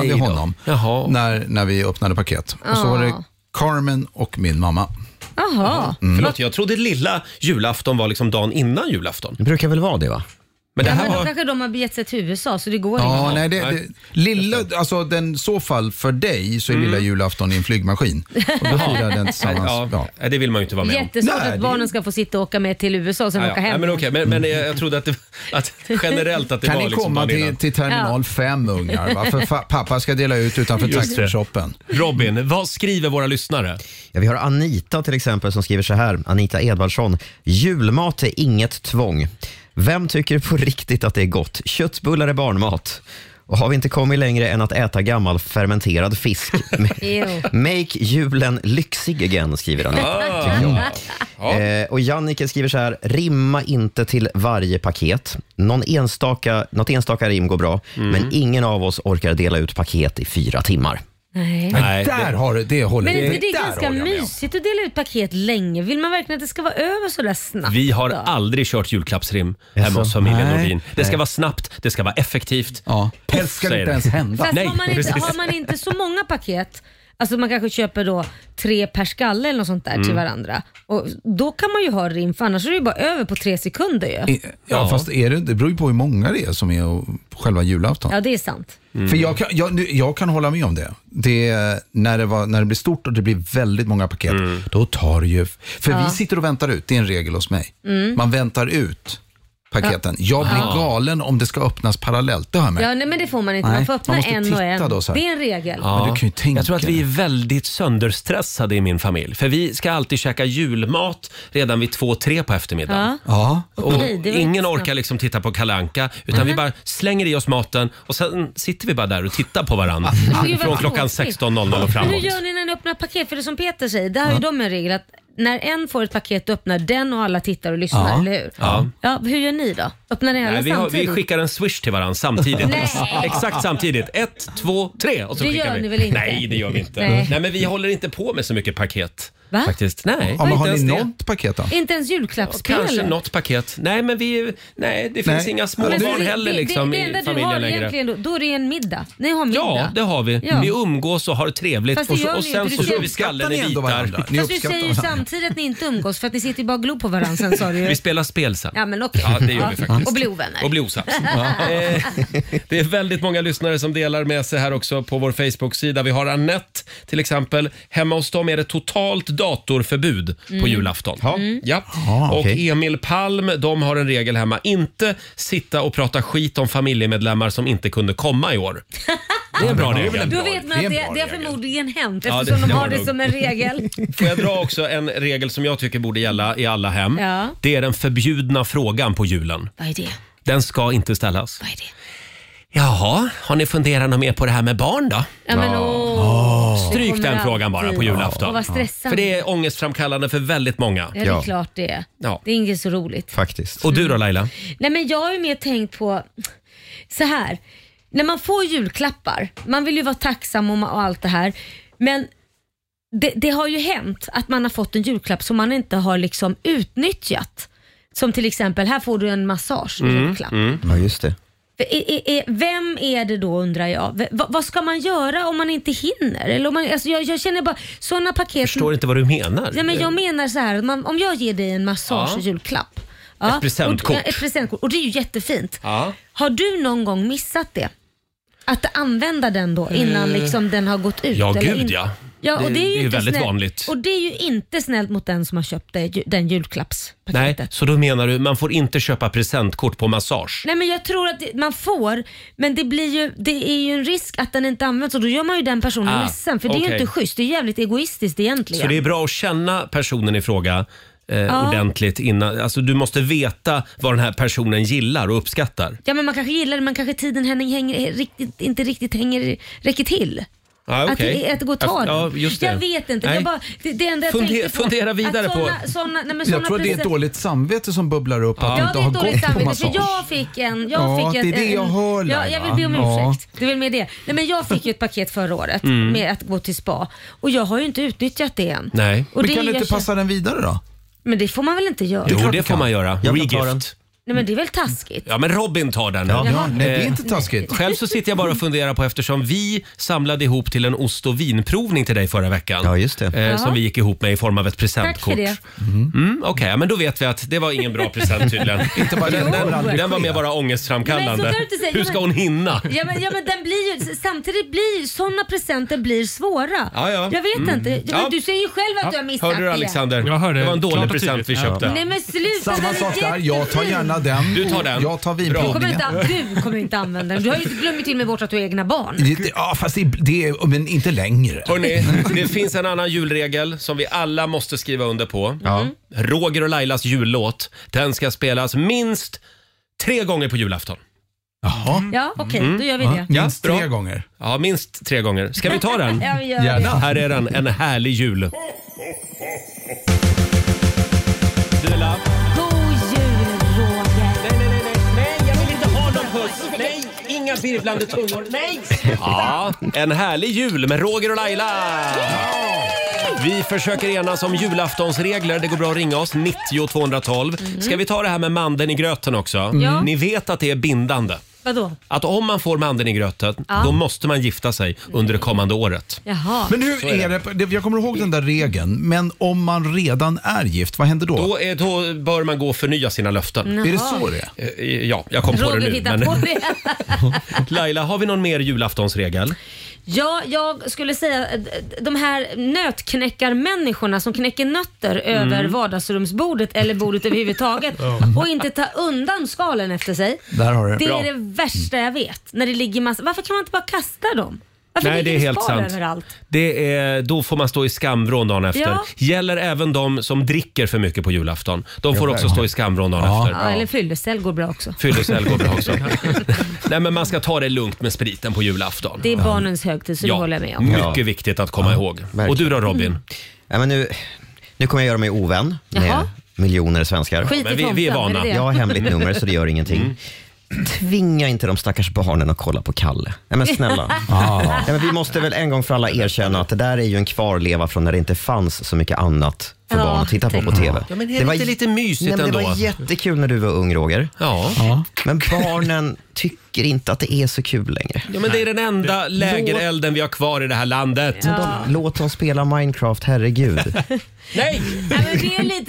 [SPEAKER 1] Aj
[SPEAKER 8] vi
[SPEAKER 1] då.
[SPEAKER 8] honom
[SPEAKER 1] Jaha.
[SPEAKER 8] när, när vi öppnade paket. Och så var det Carmen och min mamma.
[SPEAKER 2] Jaha.
[SPEAKER 1] Förlåt, jag trodde lilla julafton var liksom dagen innan julafton.
[SPEAKER 6] Det brukar väl vara det va?
[SPEAKER 1] Men det
[SPEAKER 2] Ja,
[SPEAKER 1] här
[SPEAKER 2] men då
[SPEAKER 1] var...
[SPEAKER 2] kanske de har begett sig till USA så det går
[SPEAKER 8] Ja,
[SPEAKER 2] inte.
[SPEAKER 8] nej, det,
[SPEAKER 1] nej.
[SPEAKER 8] det, lilla, alltså den, så fall för dig så är
[SPEAKER 1] Mm.
[SPEAKER 8] lilla julafton i en flygmaskin. Och då firar den tillsammans. Ja.
[SPEAKER 1] Ja, det vill man ju inte vara med om.
[SPEAKER 2] Jättesvårt
[SPEAKER 8] Nej,
[SPEAKER 2] att
[SPEAKER 8] det-
[SPEAKER 2] barnen ska få sitta och åka med till USA och sen
[SPEAKER 1] Ah, Ja,
[SPEAKER 2] åka
[SPEAKER 1] ja. Nej,
[SPEAKER 2] hem.
[SPEAKER 1] men okej, men, men jag, jag trodde att, det,
[SPEAKER 2] <laughs>
[SPEAKER 1] att generellt att det
[SPEAKER 8] Kan
[SPEAKER 1] var
[SPEAKER 8] ni
[SPEAKER 1] liksom
[SPEAKER 8] komma
[SPEAKER 1] dagen
[SPEAKER 8] till,
[SPEAKER 1] innan.
[SPEAKER 8] till terminal 5 ungar? Va? För fa- pappa ska dela ut utanför
[SPEAKER 1] Just det.
[SPEAKER 8] taxishoppen.
[SPEAKER 1] Robin, vad skriver våra lyssnare?
[SPEAKER 6] Ja, vi har Anita till exempel som skriver så här, Anita Edvardsson. Julmat är inget tvång. Vem tycker på riktigt att det är gott? Köttbullar är barnmat. Och har vi inte kommit längre än att äta gammal fermenterad fisk?
[SPEAKER 2] Ew.
[SPEAKER 6] Make julen lyxig igen, skriver
[SPEAKER 2] Ah.
[SPEAKER 6] Anita. Eh, och Jannike skriver så här, rimma inte till varje paket. Någon
[SPEAKER 2] Mm.
[SPEAKER 6] enstaka, något enstaka rim går bra, men ingen av oss orkar dela ut paket i fyra timmar.
[SPEAKER 2] Nej.
[SPEAKER 8] Men där har du, det håller
[SPEAKER 2] Men
[SPEAKER 8] jag-
[SPEAKER 2] inte det är
[SPEAKER 8] där
[SPEAKER 2] ganska
[SPEAKER 8] håller jag med.
[SPEAKER 2] mysigt att dela ut paket länge? Vill man verkligen att det ska vara över sådär snabbt?
[SPEAKER 1] Vi har
[SPEAKER 2] Ah, då?
[SPEAKER 1] aldrig kört julklappsrim hemma hos familjen Nordin. Det ska vara snabbt, det ska vara effektivt. Ja.
[SPEAKER 8] Helst ska det inte ens hända.
[SPEAKER 2] Fast har, man inte, har man inte så många paket, alltså man kanske köper då tre per skalle eller något sånt där till
[SPEAKER 8] Mm.
[SPEAKER 2] varandra. Och då kan man ju ha rim, för annars är det ju bara över på tre sekunder ju.
[SPEAKER 8] I- Ja, fast är det, det beror ju på hur många det är som är och- på själva julafton.
[SPEAKER 2] Ja, det är sant.
[SPEAKER 8] För jag kan, jag, nu- jag kan hålla med om det. det är när, det var, när det blir stort och det blir väldigt många paket,
[SPEAKER 1] Mm.
[SPEAKER 8] då tar det ju... För
[SPEAKER 2] Ja.
[SPEAKER 8] vi sitter och väntar ut, det är en regel hos mig.
[SPEAKER 2] Mm.
[SPEAKER 8] Man väntar ut paketen.
[SPEAKER 2] Ja.
[SPEAKER 8] Jag blir
[SPEAKER 2] Ja.
[SPEAKER 8] galen om det ska öppnas parallellt, det har jag märkt.
[SPEAKER 2] Ja, nej, men det får man inte.
[SPEAKER 8] Nej,
[SPEAKER 2] Man får öppna
[SPEAKER 8] man måste
[SPEAKER 2] en och en.
[SPEAKER 8] titta då så här.
[SPEAKER 2] det är en regel.
[SPEAKER 8] Men du kan ju tänka
[SPEAKER 1] Jag tror att vi är väldigt sönderstressade i min familj. För vi ska alltid käka julmat redan vid två, tre på eftermiddagen.
[SPEAKER 8] Ja.
[SPEAKER 1] Och
[SPEAKER 2] Okej, det var
[SPEAKER 1] ingen
[SPEAKER 2] intressant.
[SPEAKER 1] orkar liksom titta på kalanka utan vi
[SPEAKER 2] Mhm.
[SPEAKER 1] bara slänger i oss maten och sen sitter vi bara där och tittar på varandra.
[SPEAKER 2] Det är ju
[SPEAKER 1] Från
[SPEAKER 2] väldigt
[SPEAKER 1] klockan
[SPEAKER 2] tråkigt.
[SPEAKER 1] 16.00 och
[SPEAKER 2] Men
[SPEAKER 1] framåt.
[SPEAKER 2] hur gör ni när ni öppnar paket? För det som Peter säger, där har ju
[SPEAKER 1] Ja.
[SPEAKER 2] de en regel att när en får ett paket då öppnar den och alla tittar och lyssnar,
[SPEAKER 1] Ja.
[SPEAKER 2] eller hur?
[SPEAKER 1] Ja.
[SPEAKER 2] ja. Hur gör ni då? Öppnar ni alla
[SPEAKER 1] Nej, vi, har, vi
[SPEAKER 2] samtidigt?
[SPEAKER 1] skickar en swish till varandra samtidigt.
[SPEAKER 2] Nej.
[SPEAKER 1] Exakt samtidigt. Ett, två, tre. Och så
[SPEAKER 2] Det
[SPEAKER 1] skickar
[SPEAKER 2] gör
[SPEAKER 1] vi.
[SPEAKER 2] ni väl inte?
[SPEAKER 1] Nej, det gör vi inte.
[SPEAKER 2] Nej.
[SPEAKER 1] Nej. men vi håller inte på med så mycket paket.
[SPEAKER 2] Va?
[SPEAKER 1] Faktiskt. Nej,
[SPEAKER 8] Ja, men har
[SPEAKER 1] inte
[SPEAKER 8] ni
[SPEAKER 1] ens det.
[SPEAKER 8] något paket då?
[SPEAKER 2] Inte ens julklappsspel?
[SPEAKER 1] Kanske något paket. Nej, men vi, nej det finns
[SPEAKER 8] Nej.
[SPEAKER 1] inga
[SPEAKER 2] Men
[SPEAKER 1] småbarn
[SPEAKER 2] det-
[SPEAKER 1] heller
[SPEAKER 2] det-
[SPEAKER 1] liksom,
[SPEAKER 2] det, det enda
[SPEAKER 1] i
[SPEAKER 2] du har
[SPEAKER 1] familjen längre.
[SPEAKER 2] egentligen då, då är det en middag. Ni har middag.
[SPEAKER 1] Ja, det har vi.
[SPEAKER 2] Ja.
[SPEAKER 1] Vi umgås och har trevligt
[SPEAKER 2] Fast det
[SPEAKER 1] och, så,
[SPEAKER 2] gör
[SPEAKER 1] och
[SPEAKER 2] ni
[SPEAKER 1] sen
[SPEAKER 2] inte.
[SPEAKER 1] så
[SPEAKER 2] Det
[SPEAKER 1] kör vi
[SPEAKER 2] känns-
[SPEAKER 1] skallen i
[SPEAKER 8] Uppskattar ni ändå varandra?
[SPEAKER 1] bitar.
[SPEAKER 2] Fast du säger ju samtidigt att ni inte umgås för att ni sitter ju bara och glor på varandra sen sa du ju.
[SPEAKER 1] <laughs> Vi spelar spel sen.
[SPEAKER 2] Ja men okej.
[SPEAKER 1] Ja, det gör vi
[SPEAKER 2] Ja.
[SPEAKER 1] faktiskt.
[SPEAKER 2] Och blir ovänner.
[SPEAKER 1] Och bli osams.
[SPEAKER 2] Ja.
[SPEAKER 1] Eh, Det är väldigt många lyssnare som delar med sig här också på vår Facebook-sida. Vi har Annette till exempel. Hemma hos dem är det totalt datorförbud
[SPEAKER 7] Mm.
[SPEAKER 1] på julafton.
[SPEAKER 7] Mm.
[SPEAKER 1] Ja.
[SPEAKER 7] Ja,
[SPEAKER 1] och
[SPEAKER 7] okej.
[SPEAKER 1] Emil Palm, de har en regel hemma. Inte sitta och prata skit om familjemedlemmar som inte kunde komma i år. Det är en bra regel.
[SPEAKER 2] Då vet man att det, det har förmodligen hänt
[SPEAKER 1] Ja,
[SPEAKER 2] eftersom
[SPEAKER 1] det-
[SPEAKER 2] de
[SPEAKER 1] det
[SPEAKER 2] har
[SPEAKER 1] har
[SPEAKER 2] det
[SPEAKER 1] de.
[SPEAKER 2] som en regel.
[SPEAKER 1] Får jag dra också en regel som jag tycker borde gälla i alla hem?
[SPEAKER 2] Ja.
[SPEAKER 1] Det är den förbjudna frågan på julen.
[SPEAKER 2] Vad är det?
[SPEAKER 1] Den ska inte ställas. Vad är det? Jaha, har ni funderat något mer på det här med barn då?
[SPEAKER 2] Ja, men, åh. Det
[SPEAKER 1] Stryk
[SPEAKER 2] kommer
[SPEAKER 1] den frågan bara
[SPEAKER 2] alltid.
[SPEAKER 1] på julafton.
[SPEAKER 2] Åh, vad
[SPEAKER 1] För
[SPEAKER 2] stressande.
[SPEAKER 1] det är ångestframkallande för väldigt många.
[SPEAKER 2] Ja, det är klart det är.
[SPEAKER 1] Ja.
[SPEAKER 2] Det är inget så roligt.
[SPEAKER 1] Faktiskt. Och du då Laila?
[SPEAKER 2] Nej men jag har ju mer tänkt på så här. När man får julklappar, man vill ju vara tacksam om och allt det här. Men det, det har ju hänt att man har fått en julklapp som man inte har liksom utnyttjat. Som till exempel, här får du en massage i
[SPEAKER 1] Mm,
[SPEAKER 2] julklapp.
[SPEAKER 6] Ja, just det.
[SPEAKER 2] För är- är- är- Vem är det då undrar jag? V- vad- vad ska man göra om man inte hinner? Eller om man, alltså jag, jag känner bara, sådana paket...
[SPEAKER 1] Jag förstår inte vad du menar.
[SPEAKER 2] Ja, men jag menar så här, man, om jag ger dig en massage
[SPEAKER 1] Ja.
[SPEAKER 2] i julklapp.
[SPEAKER 1] Ett presentkort.
[SPEAKER 2] Och, ja, ett presentkort. Och det är ju jättefint.
[SPEAKER 1] Ja.
[SPEAKER 2] Har du någon gång missat det? Att använda den då innan
[SPEAKER 1] Eh.
[SPEAKER 2] liksom den har gått ut?
[SPEAKER 1] Ja,
[SPEAKER 2] eller
[SPEAKER 1] gud
[SPEAKER 2] in-
[SPEAKER 1] ja.
[SPEAKER 2] ja och det, är ju
[SPEAKER 1] ju
[SPEAKER 2] inte
[SPEAKER 1] väldigt
[SPEAKER 2] snällt.
[SPEAKER 1] vanligt.
[SPEAKER 2] Och det är ju inte snällt mot den som har köpt det, den julklapps...
[SPEAKER 1] Nej, så då menar du man får inte köpa presentkort på massage?
[SPEAKER 2] Nej men jag tror att det, man får, men det, blir ju, det är ju en risk att den inte används och då gör man ju den personen
[SPEAKER 1] Ah,
[SPEAKER 2] ledsen. För det är ju
[SPEAKER 1] okej.
[SPEAKER 2] inte schysst, det är jävligt egoistiskt egentligen.
[SPEAKER 1] Så det är bra att känna personen i fråga eh,
[SPEAKER 2] Ja.
[SPEAKER 1] ordentligt innan. Alltså du måste veta vad den här personen gillar och uppskattar.
[SPEAKER 2] Ja men man kanske gillar det men kanske tiden hänger, hänger, riktigt, inte riktigt hänger, räcker till.
[SPEAKER 1] Ja,
[SPEAKER 2] Att,
[SPEAKER 1] Ah, okej.
[SPEAKER 2] det, att det går att ta
[SPEAKER 1] Alltså, ja,
[SPEAKER 2] den.
[SPEAKER 1] just det.
[SPEAKER 2] Jag vet inte. Jag
[SPEAKER 1] Nej.
[SPEAKER 2] bara, det, det enda jag
[SPEAKER 1] Funde-
[SPEAKER 2] tänkte på,
[SPEAKER 1] fundera
[SPEAKER 2] att
[SPEAKER 1] vidare på-
[SPEAKER 2] såna, Såna, nej, men såna
[SPEAKER 8] Jag tror att det är ett
[SPEAKER 2] present-
[SPEAKER 8] dåligt samvete som bubblar upp
[SPEAKER 2] Ja,
[SPEAKER 8] att
[SPEAKER 2] det
[SPEAKER 8] du
[SPEAKER 2] är
[SPEAKER 8] inte har
[SPEAKER 2] ett dåligt
[SPEAKER 8] gått på
[SPEAKER 2] samvete för
[SPEAKER 8] massage.
[SPEAKER 2] jag fick en... Jag
[SPEAKER 8] Ja,
[SPEAKER 2] fick
[SPEAKER 8] det är
[SPEAKER 2] ett,
[SPEAKER 8] det jag
[SPEAKER 2] en,
[SPEAKER 8] hör,
[SPEAKER 2] ja, Jag vill
[SPEAKER 8] Laila.
[SPEAKER 2] be om
[SPEAKER 8] Ja.
[SPEAKER 2] ursäkt. Det är väl med det. Nej, men jag fick ju ett paket förra året
[SPEAKER 8] Mm.
[SPEAKER 2] med att gå till spa och jag har ju inte utnyttjat det än.
[SPEAKER 1] Nej.
[SPEAKER 2] Och
[SPEAKER 8] Men
[SPEAKER 2] det
[SPEAKER 8] kan du
[SPEAKER 2] gör
[SPEAKER 8] inte
[SPEAKER 2] så-
[SPEAKER 8] passa den vidare då?
[SPEAKER 2] Men det får man väl inte göra?
[SPEAKER 1] Jo, det får man göra. Regift.
[SPEAKER 2] Nej, men det är väl taskigt?
[SPEAKER 1] Ja, men Robin tar den.
[SPEAKER 8] Ja, ja, nej, det är
[SPEAKER 1] Eh,
[SPEAKER 8] inte taskigt.
[SPEAKER 1] Själv så sitter jag bara och funderar på eftersom vi samlade ihop till en ost och vinprovning till dig förra veckan. Ja, just
[SPEAKER 2] Ja.
[SPEAKER 1] det. Som vi gick ihop med i form av ett
[SPEAKER 2] Tack för
[SPEAKER 1] presentkort.
[SPEAKER 2] det.
[SPEAKER 1] Mm, Okej, ja, men då vet vi att det var ingen
[SPEAKER 2] <laughs>
[SPEAKER 1] bra present tydligen.
[SPEAKER 8] Inte bara-
[SPEAKER 1] den,
[SPEAKER 8] Jo.
[SPEAKER 1] den, den var mer bara
[SPEAKER 2] Men så
[SPEAKER 1] ångestframkallande.
[SPEAKER 2] kan du inte säga.
[SPEAKER 1] Hur ska hon hinna?
[SPEAKER 2] Ja men, ja, men den blir ju, samtidigt blir ju- sådana presenter blir svåra.
[SPEAKER 1] Ja, ja.
[SPEAKER 2] Jag vet
[SPEAKER 1] Mm.
[SPEAKER 2] inte. Ja, men
[SPEAKER 1] Ja.
[SPEAKER 2] Du säger ju själv att du har missat
[SPEAKER 1] Hörde du
[SPEAKER 2] det.
[SPEAKER 1] Alexander? Jag hörde. Det var en
[SPEAKER 7] Klart
[SPEAKER 1] dålig
[SPEAKER 7] och
[SPEAKER 1] present vi
[SPEAKER 7] tydligt.
[SPEAKER 1] köpte.
[SPEAKER 2] Nej men sluta,
[SPEAKER 8] Samma
[SPEAKER 2] den är
[SPEAKER 8] sak där,
[SPEAKER 2] jättefin.
[SPEAKER 8] jag tar gärna den.
[SPEAKER 1] Du tar
[SPEAKER 8] och
[SPEAKER 1] den.
[SPEAKER 8] Jag tar
[SPEAKER 2] Du kommer,
[SPEAKER 8] vinprovningen.
[SPEAKER 2] inte, du kommer inte använda den. Du har ju glömt till och med bort att du har egna barn.
[SPEAKER 8] Det- det- Ja, fast det, det är, men inte längre.
[SPEAKER 1] Hörrni, det finns en annan julregel som vi alla måste skriva under på.
[SPEAKER 2] Mm.
[SPEAKER 1] Roger och Lailas jullåt, den ska spelas minst tre gånger på julafton.
[SPEAKER 8] Jaha.
[SPEAKER 2] Ja, okej,
[SPEAKER 1] Mm.
[SPEAKER 2] då gör vi det.
[SPEAKER 1] Ja, bra. Ja, minst tre gånger. Ska vi ta den?
[SPEAKER 2] <laughs> Ja, vi gör Gärna. det.
[SPEAKER 1] Här är den, En härlig jul.
[SPEAKER 2] God jul Roger!
[SPEAKER 1] Nej, nej, nej, nej, jag vill inte ha någon puss! Nej,
[SPEAKER 13] många virvlande tungor. Nej!
[SPEAKER 1] Ja, en härlig jul med Roger och Laila! Vi försöker enas om julaftonsregler. Det går bra att ringa oss, 90 212. Ska vi ta det här med mandeln i gröten också?
[SPEAKER 2] Mhm. Mm. Ja.
[SPEAKER 1] Ni vet att det är bindande.
[SPEAKER 2] Vadå?
[SPEAKER 1] Att om man får mandeln i gröten,
[SPEAKER 2] Ja.
[SPEAKER 1] då måste man gifta sig under det kommande året.
[SPEAKER 2] Jaha.
[SPEAKER 8] Men hur är det? det- Jag kommer ihåg den där regeln, men om man redan är gift, vad händer då?
[SPEAKER 1] Då, är, då bör man gå och förnya sina löften.
[SPEAKER 2] Jaha. Är det så det
[SPEAKER 1] är? Eh, Ja, jag kom på
[SPEAKER 2] Roger
[SPEAKER 1] det nu.
[SPEAKER 2] hittar
[SPEAKER 1] Men...
[SPEAKER 2] på
[SPEAKER 1] <laughs>
[SPEAKER 2] det. <laughs>
[SPEAKER 1] Laila, har vi någon mer julaftonsregel?
[SPEAKER 2] Ja, jag skulle säga eh, de här nötknäckarmänniskorna som knäcker nötter
[SPEAKER 1] Mm.
[SPEAKER 2] över vardagsrumsbordet eller bordet överhuvudtaget
[SPEAKER 8] Ja.
[SPEAKER 2] och inte tar undan skalen efter sig.
[SPEAKER 8] Där har du det.
[SPEAKER 2] Det
[SPEAKER 8] Bra.
[SPEAKER 2] är det värsta jag vet. När det ligger massa, varför kan man inte bara kasta dem? Varför
[SPEAKER 1] Nej,
[SPEAKER 2] ligger
[SPEAKER 1] det är helt
[SPEAKER 2] kvar
[SPEAKER 1] sant.
[SPEAKER 2] överallt?
[SPEAKER 1] Det är, då får man stå i skamvrån dagen efter.
[SPEAKER 2] Ja.
[SPEAKER 1] Gäller även de som dricker för mycket på julafton. De får
[SPEAKER 2] Ja,
[SPEAKER 1] också stå i skamvrån dagen
[SPEAKER 2] Ja.
[SPEAKER 1] efter.
[SPEAKER 2] eller fyllecell går bra också.
[SPEAKER 1] Fyllecell
[SPEAKER 2] <laughs>
[SPEAKER 1] går bra också. Nej, men man ska ta det lugnt med spriten på julafton.
[SPEAKER 2] Det är barnens högtid så det håller jag med om. Mm.
[SPEAKER 1] mycket viktigt att komma ihåg. Och du då Robin?
[SPEAKER 6] Ja, men nu, nu kommer jag göra mig ovän med
[SPEAKER 2] Jaha.
[SPEAKER 6] miljoner svenskar.
[SPEAKER 2] Skit i
[SPEAKER 6] vi,
[SPEAKER 2] tomten,
[SPEAKER 6] vi är
[SPEAKER 2] är det
[SPEAKER 6] vana.
[SPEAKER 2] det? Mm.
[SPEAKER 6] Jag har hemligt nummer så det gör ingenting. Tvinga inte de stackars barnen att kolla på Kalle. Nej,
[SPEAKER 2] <laughs>
[SPEAKER 6] men snälla.
[SPEAKER 14] Ah.
[SPEAKER 6] Nej, men vi måste väl en gång för alla erkänna att det där är ju en kvarleva från när det inte fanns så mycket annat för
[SPEAKER 1] Ja,
[SPEAKER 6] barn att titta på på TV.
[SPEAKER 1] Ja, men är det inte lite mysigt
[SPEAKER 6] nej, men Det
[SPEAKER 1] ändå?
[SPEAKER 6] var jättekul när du var ung Roger.
[SPEAKER 1] Ja.
[SPEAKER 6] Men barnen tycker inte att det är så kul längre.
[SPEAKER 1] Ja, men det är den enda lägerelden vi har kvar i det här landet.
[SPEAKER 6] Låt dem spela Minecraft, herregud.
[SPEAKER 1] <laughs> Nej!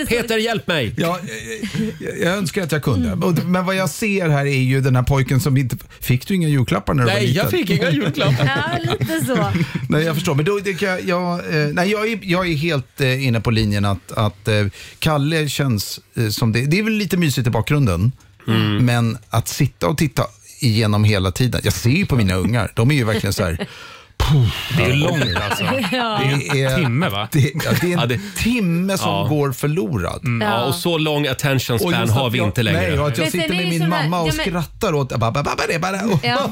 [SPEAKER 2] Peter,
[SPEAKER 1] hjälp mig!
[SPEAKER 8] Ja, eh, jag, jag önskar att jag kunde.
[SPEAKER 2] Mm.
[SPEAKER 8] Och- Men vad jag ser här är ju den här pojken som inte... Fick du inga julklappar när du var
[SPEAKER 1] Nej,
[SPEAKER 8] liten?
[SPEAKER 1] jag fick inga julklappar.
[SPEAKER 2] Ja,
[SPEAKER 1] <laughs>
[SPEAKER 2] lite så.
[SPEAKER 8] Nej, jag förstår. Men då, det kan, jag- jag, eh, nej, jag, är, jag är helt eh, inne på linjen att, att eh, Kalle känns eh, som det. Det är väl lite mysigt i bakgrunden,
[SPEAKER 1] Mm.
[SPEAKER 8] men att sitta och titta igenom hela tiden. Jag ser ju på mina ungar, de är ju verkligen så här...
[SPEAKER 15] Det är långt
[SPEAKER 2] <laughs>
[SPEAKER 15] alltså. Det är en timme va?
[SPEAKER 8] Det, ja, det är en timme som
[SPEAKER 1] Ja.
[SPEAKER 8] går förlorad.
[SPEAKER 1] Ja, och så lång attention
[SPEAKER 8] Och
[SPEAKER 1] span
[SPEAKER 8] just att
[SPEAKER 1] har vi
[SPEAKER 8] jag-
[SPEAKER 1] inte längre.
[SPEAKER 8] Nej, och att jag
[SPEAKER 2] Men sen
[SPEAKER 8] sitter
[SPEAKER 2] är
[SPEAKER 8] med
[SPEAKER 2] det
[SPEAKER 8] min
[SPEAKER 2] så här-
[SPEAKER 8] mamma och
[SPEAKER 2] ja, men-
[SPEAKER 8] skrattar åt... Bara, bara, bara, bara.
[SPEAKER 2] Ja.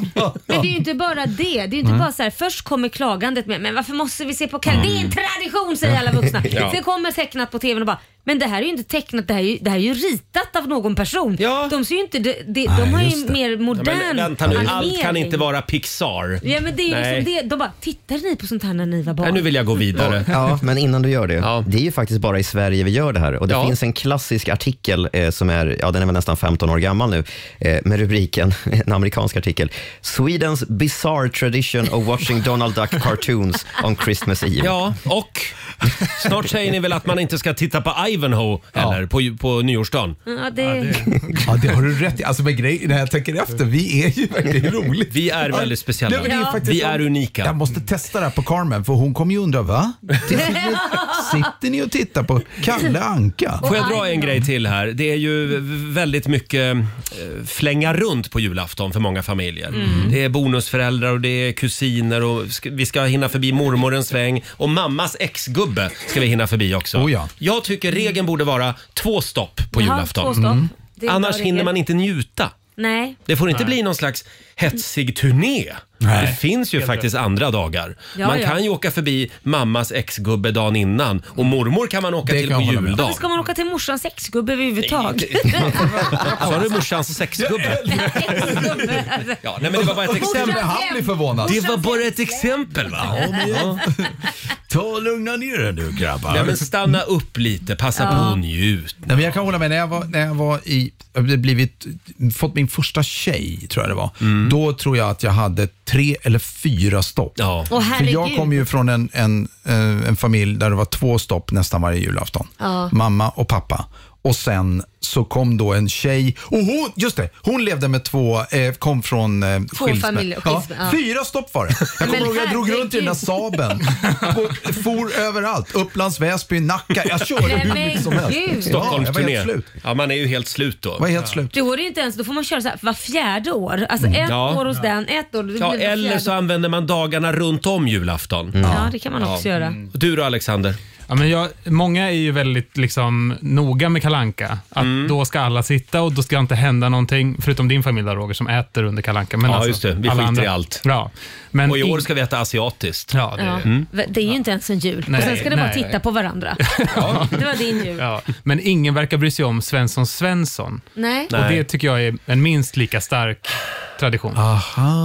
[SPEAKER 2] Men det är ju inte bara det. Det är ju inte
[SPEAKER 8] Nej.
[SPEAKER 2] bara så här, först kommer klagandet med men varför måste vi se på Kalle? Det är en tradition säger alla vuxna.
[SPEAKER 1] Mm. <laughs> Ja.
[SPEAKER 2] Sen kommer tecknat på tvn och bara men det här är ju inte tecknat, det här är ju, det här är ju ritat av någon person. De ser ju inte, de, de, de har ju mer
[SPEAKER 1] Ja,
[SPEAKER 2] modern
[SPEAKER 1] men vänta nu, allt kan
[SPEAKER 2] animering.
[SPEAKER 1] inte vara Pixar.
[SPEAKER 2] Ja men det är ju
[SPEAKER 1] Nej.
[SPEAKER 2] liksom det. De bara, tittade ni på sånt här när ni var barn?
[SPEAKER 1] Nej, nu vill jag gå vidare.
[SPEAKER 6] Ja, men innan du gör det. Det är ju faktiskt bara i Sverige vi gör det här. Och Det finns en klassisk artikel eh, som är, ja, den är väl nästan 15 år gammal nu, eh, med rubriken, <laughs> en amerikansk artikel, “Swedens bizarre tradition of watching Donald Duck cartoons on Christmas Eve”.
[SPEAKER 1] Ja, och snart säger ni väl att man inte ska titta på Ivanhoe heller på, ju- på nyårsdagen?
[SPEAKER 2] Ja, det...
[SPEAKER 8] <laughs> Ja, det har du rätt i. Alltså med grejer, när jag tänker efter, vi är ju
[SPEAKER 1] <laughs>
[SPEAKER 8] verkligen roligt.
[SPEAKER 1] Vi är väldigt speciella.
[SPEAKER 8] men det
[SPEAKER 1] Ja.
[SPEAKER 8] faktiskt-
[SPEAKER 1] Vi är unika.
[SPEAKER 8] Jag måste testa det här på Carmen, för hon kommer ju undra, va? Sitter ni och tittar på Kalle Anka?
[SPEAKER 1] Får jag dra en grej till här? Det är ju väldigt mycket eh, flänga runt på julafton för många familjer.
[SPEAKER 15] Mm.
[SPEAKER 1] Det är bonusföräldrar och det är kusiner och sk- vi ska hinna förbi mormor en sväng och mammas exgubbe ska vi hinna förbi också.
[SPEAKER 8] Oh ja.
[SPEAKER 1] Jag tycker regeln borde vara två stopp på
[SPEAKER 2] Jaha,
[SPEAKER 1] julafton.
[SPEAKER 2] två stopp. Mm. Det är en bra
[SPEAKER 1] Annars
[SPEAKER 2] regel.
[SPEAKER 1] hinner man inte njuta.
[SPEAKER 2] Nej.
[SPEAKER 1] Det får inte
[SPEAKER 2] Nej.
[SPEAKER 1] bli någon slags hetsig turné. Det finns ju
[SPEAKER 15] Helt
[SPEAKER 1] faktiskt andra dagar.
[SPEAKER 2] Ja,
[SPEAKER 1] man
[SPEAKER 2] ja.
[SPEAKER 1] kan ju åka förbi mammas exgubbe dagen innan och mormor kan man åka till på
[SPEAKER 2] Varför
[SPEAKER 1] juldagen.
[SPEAKER 2] ska man åka till morsans sexgubbe överhuvudtaget?
[SPEAKER 8] <laughs>
[SPEAKER 1] Sa du morsans sexgubbe? Ja, nej, men det var bara ett exempel.
[SPEAKER 8] Han blir förvånad.
[SPEAKER 1] Det var bara ett exempel va?
[SPEAKER 8] Ja, men- Ta och lugna ner dig nu grabbar.
[SPEAKER 1] Nej, men stanna upp lite, passa
[SPEAKER 8] Ja.
[SPEAKER 1] på och njut.
[SPEAKER 8] Nej, men jag kan hålla med. När jag var, när jag var i, jag hade blivit, fått min första tjej, tror jag det var, då tror jag att jag hade tre eller fyra stopp.
[SPEAKER 1] Åh,
[SPEAKER 8] För jag
[SPEAKER 1] herregud.
[SPEAKER 8] kom ju från en, en, eh, en familj där det var två stopp nästan varje julafton.
[SPEAKER 15] Ja.
[SPEAKER 8] Mamma och pappa. Och sen så kom då en tjej, och hon, just det, hon levde med två, eh, kom från eh,
[SPEAKER 15] familjer och
[SPEAKER 8] Ja,
[SPEAKER 15] skilsmä- ja.
[SPEAKER 8] Fyra stopp var det. Jag
[SPEAKER 15] Men
[SPEAKER 8] kommer ihåg jag drog runt i den där
[SPEAKER 15] herregud.
[SPEAKER 8] Saben. Och For överallt, Upplands Väsby, Nacka. Jag körde
[SPEAKER 2] Nej,
[SPEAKER 8] hur
[SPEAKER 2] Eh, men
[SPEAKER 8] mycket som helst.
[SPEAKER 2] gud.
[SPEAKER 8] Ja, jag var helt
[SPEAKER 1] Stockholmsturné.
[SPEAKER 8] slut.
[SPEAKER 1] Ja, man är ju helt slut då.
[SPEAKER 8] Var helt slut.
[SPEAKER 2] Då är det inte ens, då får man köra så här var fjärde år. Alltså
[SPEAKER 1] Mm.
[SPEAKER 2] ett
[SPEAKER 1] Ja.
[SPEAKER 2] år hos den, ett år. det
[SPEAKER 1] Ja,
[SPEAKER 2] blir var
[SPEAKER 1] eller
[SPEAKER 2] fjärde.
[SPEAKER 1] så använder man dagarna runt om julafton.
[SPEAKER 8] Mm.
[SPEAKER 2] Ja, det kan man också göra.
[SPEAKER 1] Mm. Du då Alexander?
[SPEAKER 15] Ja, men jag, många är ju väldigt liksom, noga med kalanka. Att
[SPEAKER 1] Mm.
[SPEAKER 15] Då ska alla sitta och då ska inte hända någonting, förutom din familj där, Roger, som äter under kalanka. Men
[SPEAKER 1] ja,
[SPEAKER 15] alltså,
[SPEAKER 1] just det. Vi
[SPEAKER 15] alla
[SPEAKER 1] skiter
[SPEAKER 15] andra-
[SPEAKER 1] i allt.
[SPEAKER 15] Ja. Men
[SPEAKER 1] och i år
[SPEAKER 15] in-
[SPEAKER 1] ska vi äta asiatiskt.
[SPEAKER 15] Ja,
[SPEAKER 2] Ja.
[SPEAKER 1] Mm.
[SPEAKER 2] Det är ju inte ens en jul.
[SPEAKER 15] Nej,
[SPEAKER 2] och sen ska det bara
[SPEAKER 15] nej.
[SPEAKER 2] titta
[SPEAKER 1] <laughs>
[SPEAKER 2] på varandra. Det var din jul.
[SPEAKER 15] Ja, men ingen verkar bry sig om Svensson Svensson.
[SPEAKER 2] Nej.
[SPEAKER 15] Och det tycker jag är en minst lika stark tradition.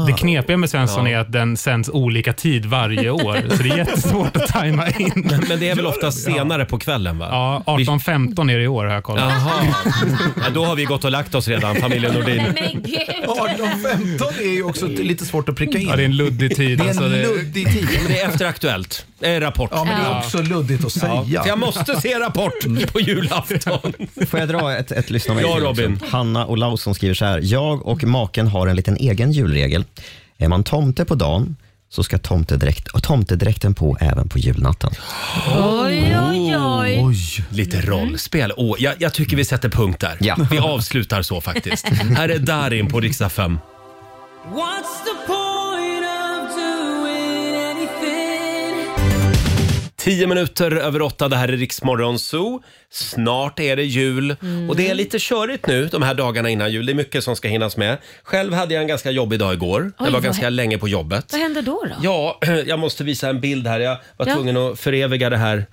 [SPEAKER 15] Det knepiga med Svensson
[SPEAKER 1] Ja.
[SPEAKER 15] är att den sänds olika tid varje år,
[SPEAKER 1] <laughs>
[SPEAKER 15] så det är jättesvårt att tajma in.
[SPEAKER 1] Men, men det är väl ofta senare på kvällen? va?
[SPEAKER 15] Ja, 18.15 är det i år har jag kollat.
[SPEAKER 1] Jaha.
[SPEAKER 8] <laughs>
[SPEAKER 1] Ja, då har vi gått och lagt oss redan, familjen Nordin.
[SPEAKER 2] Men
[SPEAKER 1] <laughs>
[SPEAKER 2] gud!
[SPEAKER 8] 18.15 är ju också lite svårt att pricka in.
[SPEAKER 15] Ja, det är en luddig tid.
[SPEAKER 8] Det är en
[SPEAKER 15] alltså, det-
[SPEAKER 8] luddig tid.
[SPEAKER 1] Ja, men det är efter Aktuellt. Det är Rapport.
[SPEAKER 8] Ja, men det är
[SPEAKER 1] Ja.
[SPEAKER 8] också luddigt att säga.
[SPEAKER 1] Ja, för jag måste se Rapport på julafton.
[SPEAKER 6] <laughs> Får jag dra ett, ett lyssnarmail
[SPEAKER 1] Ja,
[SPEAKER 6] till också?
[SPEAKER 1] Robin.
[SPEAKER 6] Hanna Olausson skriver så här. Jag och maken har en liten egen julregel. Är man tomte på dagen så ska tomtedräkt, och tomtedräkten på även på julnatten.
[SPEAKER 2] Oj, oj, oj.
[SPEAKER 1] Lite
[SPEAKER 2] Mm.
[SPEAKER 1] rollspel. Åh, jag, jag tycker vi sätter punkt där. Vi avslutar så faktiskt. Här är Darin på riksdag 5.
[SPEAKER 13] What's the point of doing anything?
[SPEAKER 1] Tio minuter över åtta, det här är Riksmorgon Zoo. Snart är det jul och
[SPEAKER 2] Mm.
[SPEAKER 1] det är lite körigt nu de här dagarna innan jul. Det är mycket som ska hinnas med. Själv hade jag en ganska jobbig dag igår.
[SPEAKER 2] Oj,
[SPEAKER 1] jag var
[SPEAKER 2] vad
[SPEAKER 1] ganska
[SPEAKER 2] hä-
[SPEAKER 1] länge på jobbet.
[SPEAKER 2] Vad händer då? då?
[SPEAKER 1] Ja, <clears throat> jag måste visa en bild här. Jag var
[SPEAKER 2] Ja.
[SPEAKER 1] tvungen att föreviga det här.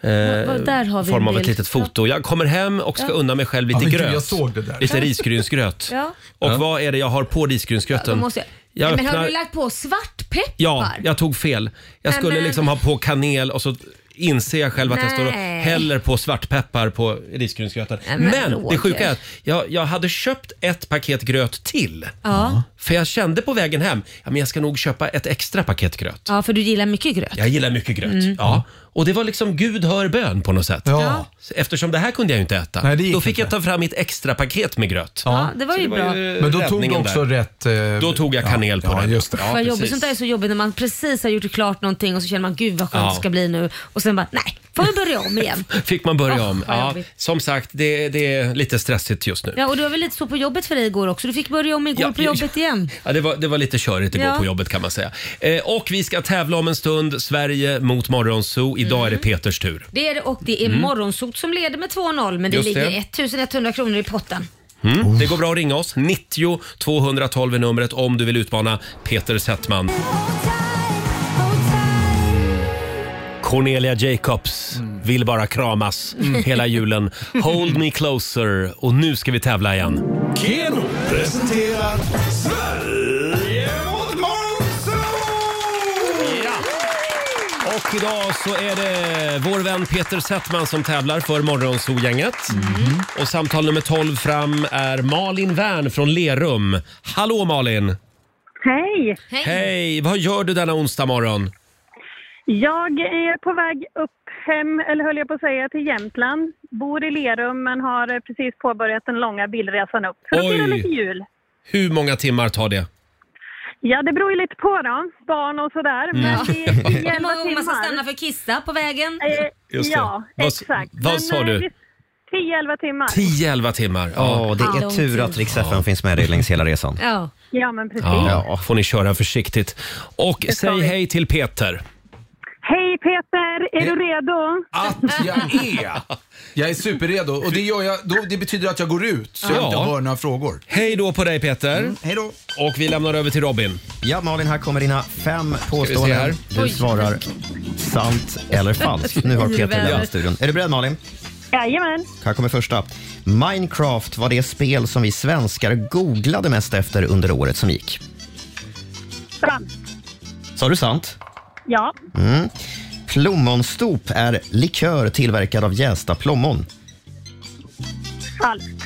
[SPEAKER 1] Eh,
[SPEAKER 2] vad- där har vi
[SPEAKER 1] form
[SPEAKER 2] en
[SPEAKER 1] av ett
[SPEAKER 2] bild.
[SPEAKER 1] litet foto. Jag kommer hem och ska
[SPEAKER 2] Ja.
[SPEAKER 1] unna mig själv lite
[SPEAKER 8] Ja, men gud,
[SPEAKER 1] gröt.
[SPEAKER 8] jag såg det där.
[SPEAKER 1] Lite
[SPEAKER 2] Ja.
[SPEAKER 1] risgrynsgröt.
[SPEAKER 2] Ja.
[SPEAKER 1] Och vad är det jag har på
[SPEAKER 2] Då
[SPEAKER 1] risgrynsgröten?
[SPEAKER 2] måste jag...
[SPEAKER 1] Jag
[SPEAKER 2] Nej, Men har
[SPEAKER 1] öppnar-
[SPEAKER 2] du lagt på svartpeppar?
[SPEAKER 1] Ja, jag tog fel. Jag
[SPEAKER 2] Nej,
[SPEAKER 1] skulle
[SPEAKER 2] men-
[SPEAKER 1] liksom ha på kanel och så inser jag själv att jag står och
[SPEAKER 2] Nej.
[SPEAKER 1] häller på svartpeppar på risgrynsgröten.
[SPEAKER 2] Nej, men
[SPEAKER 1] men det
[SPEAKER 2] Roger.
[SPEAKER 1] sjuka är att jag, jag hade köpt ett paket gröt till.
[SPEAKER 2] Ja.
[SPEAKER 1] För jag kände på vägen hem, ja, men jag ska nog köpa ett extra paket gröt.
[SPEAKER 2] ja, för du gillar mycket gröt.
[SPEAKER 1] Jag gillar mycket gröt.
[SPEAKER 2] Mm.
[SPEAKER 1] Ja. Och det var liksom Gud hör bön på något sätt.
[SPEAKER 2] Ja.
[SPEAKER 1] Eftersom det här kunde jag ju inte äta.
[SPEAKER 8] Nej, det gick
[SPEAKER 1] då fick jag ta fram mitt extra paket med gröt.
[SPEAKER 2] Ja, det var
[SPEAKER 1] Så
[SPEAKER 2] ju bra.
[SPEAKER 8] Men då tog du
[SPEAKER 1] räddningen
[SPEAKER 8] också
[SPEAKER 1] där.
[SPEAKER 8] rätt... eh,
[SPEAKER 1] Då tog jag kanel på
[SPEAKER 8] ja,
[SPEAKER 1] den.
[SPEAKER 8] Just det.
[SPEAKER 1] Ja,
[SPEAKER 2] vad
[SPEAKER 1] precis.
[SPEAKER 2] jobbigt. Sånt där är så jobbigt när man precis har gjort klart någonting och så känner man gud vad skönt
[SPEAKER 1] Ja.
[SPEAKER 2] det ska bli nu och sen bara nej, får vi börja
[SPEAKER 1] <laughs>
[SPEAKER 2] om igen.
[SPEAKER 1] Fick man börja
[SPEAKER 2] Åh,
[SPEAKER 1] om.
[SPEAKER 2] vad
[SPEAKER 1] Ja,
[SPEAKER 2] jobbigt.
[SPEAKER 1] som sagt, det, det är lite stressigt just nu.
[SPEAKER 2] Ja, och det var väl lite så på jobbet för dig igår också. Du fick börja om igår
[SPEAKER 1] Ja,
[SPEAKER 2] på jobbet igen.
[SPEAKER 1] Ja, det, var, det var lite körigt igår
[SPEAKER 2] Ja.
[SPEAKER 1] på jobbet kan man säga. Eh, och vi ska tävla om en stund. Sverige mot Morgonzoo. Idag
[SPEAKER 2] Mm.
[SPEAKER 1] är det Peters tur.
[SPEAKER 2] Det är det och det är
[SPEAKER 1] Mm.
[SPEAKER 2] Morgonsot som leder med 2-0 men det
[SPEAKER 1] Just
[SPEAKER 2] ligger
[SPEAKER 1] det.
[SPEAKER 2] 1100 kronor i potten.
[SPEAKER 1] Mm. Det går bra att ringa oss. 90 212 är numret om du vill utmana Peter Settman. Cornelia Jacobs vill bara kramas hela julen. Hold me closer. Och nu ska vi tävla igen.
[SPEAKER 3] Keno presenterar Sverige mot Morgonzoo!
[SPEAKER 1] Och idag så är det vår vän Peter Settman som tävlar för Morgonzoo-gänget. Och samtal nummer 12 fram är Malin Wern från Lerum. Hallå Malin!
[SPEAKER 4] Hej!
[SPEAKER 1] Hej! Vad gör du denna onsdag morgon?
[SPEAKER 4] Jag är på väg upp hem, eller höll jag på att säga, till Jämtland. Bor i Lerum men har precis påbörjat den långa bilresan upp för att
[SPEAKER 1] Oj.
[SPEAKER 4] fira lite jul.
[SPEAKER 1] Hur många timmar tar det?
[SPEAKER 4] Ja, det beror ju lite på då. Barn och sådär.
[SPEAKER 1] Mm.
[SPEAKER 4] Men det
[SPEAKER 1] <laughs>
[SPEAKER 4] är
[SPEAKER 2] Hur
[SPEAKER 4] elva
[SPEAKER 2] många gånger man ska
[SPEAKER 4] timmar. Eh,
[SPEAKER 2] stanna för att kissa på vägen?
[SPEAKER 1] Just det.
[SPEAKER 4] ja,
[SPEAKER 1] Vad s-
[SPEAKER 4] exakt.
[SPEAKER 1] vad sa
[SPEAKER 4] eh,
[SPEAKER 1] du?
[SPEAKER 4] det- 10-11 timmar.
[SPEAKER 1] 10-11 timmar. Ja,
[SPEAKER 6] det är
[SPEAKER 4] Ja.
[SPEAKER 6] tur att Rix FM finns med dig längs hela resan.
[SPEAKER 2] Ja.
[SPEAKER 4] Ja, men precis.
[SPEAKER 1] Ja, får ni köra försiktigt. Och säg hej till Peter.
[SPEAKER 4] Hej Peter, är du redo?
[SPEAKER 8] Att jag är. Jag är superredo och det, gör jag, då, det betyder att jag går ut så jag
[SPEAKER 1] Ja.
[SPEAKER 8] inte hör några frågor.
[SPEAKER 1] Hej då på dig Peter. <laughs> hej då. Och vi lämnar över till Robin.
[SPEAKER 6] Ja, Malin, här kommer dina fem
[SPEAKER 1] se här.
[SPEAKER 6] påståenden. Du
[SPEAKER 1] Oj.
[SPEAKER 6] svarar sant eller falskt. Nu har Peter
[SPEAKER 4] Urväder.
[SPEAKER 6] lämnat studion. Är du beredd Malin?
[SPEAKER 4] Jajamän.
[SPEAKER 6] Här kommer första. Minecraft var det spel som vi svenskar googlade mest efter under året som gick.
[SPEAKER 4] Sant.
[SPEAKER 6] Sa du sant?
[SPEAKER 4] Ja,
[SPEAKER 6] Mm. Plommonstop är likör tillverkad av jästa plommon.
[SPEAKER 4] falskt.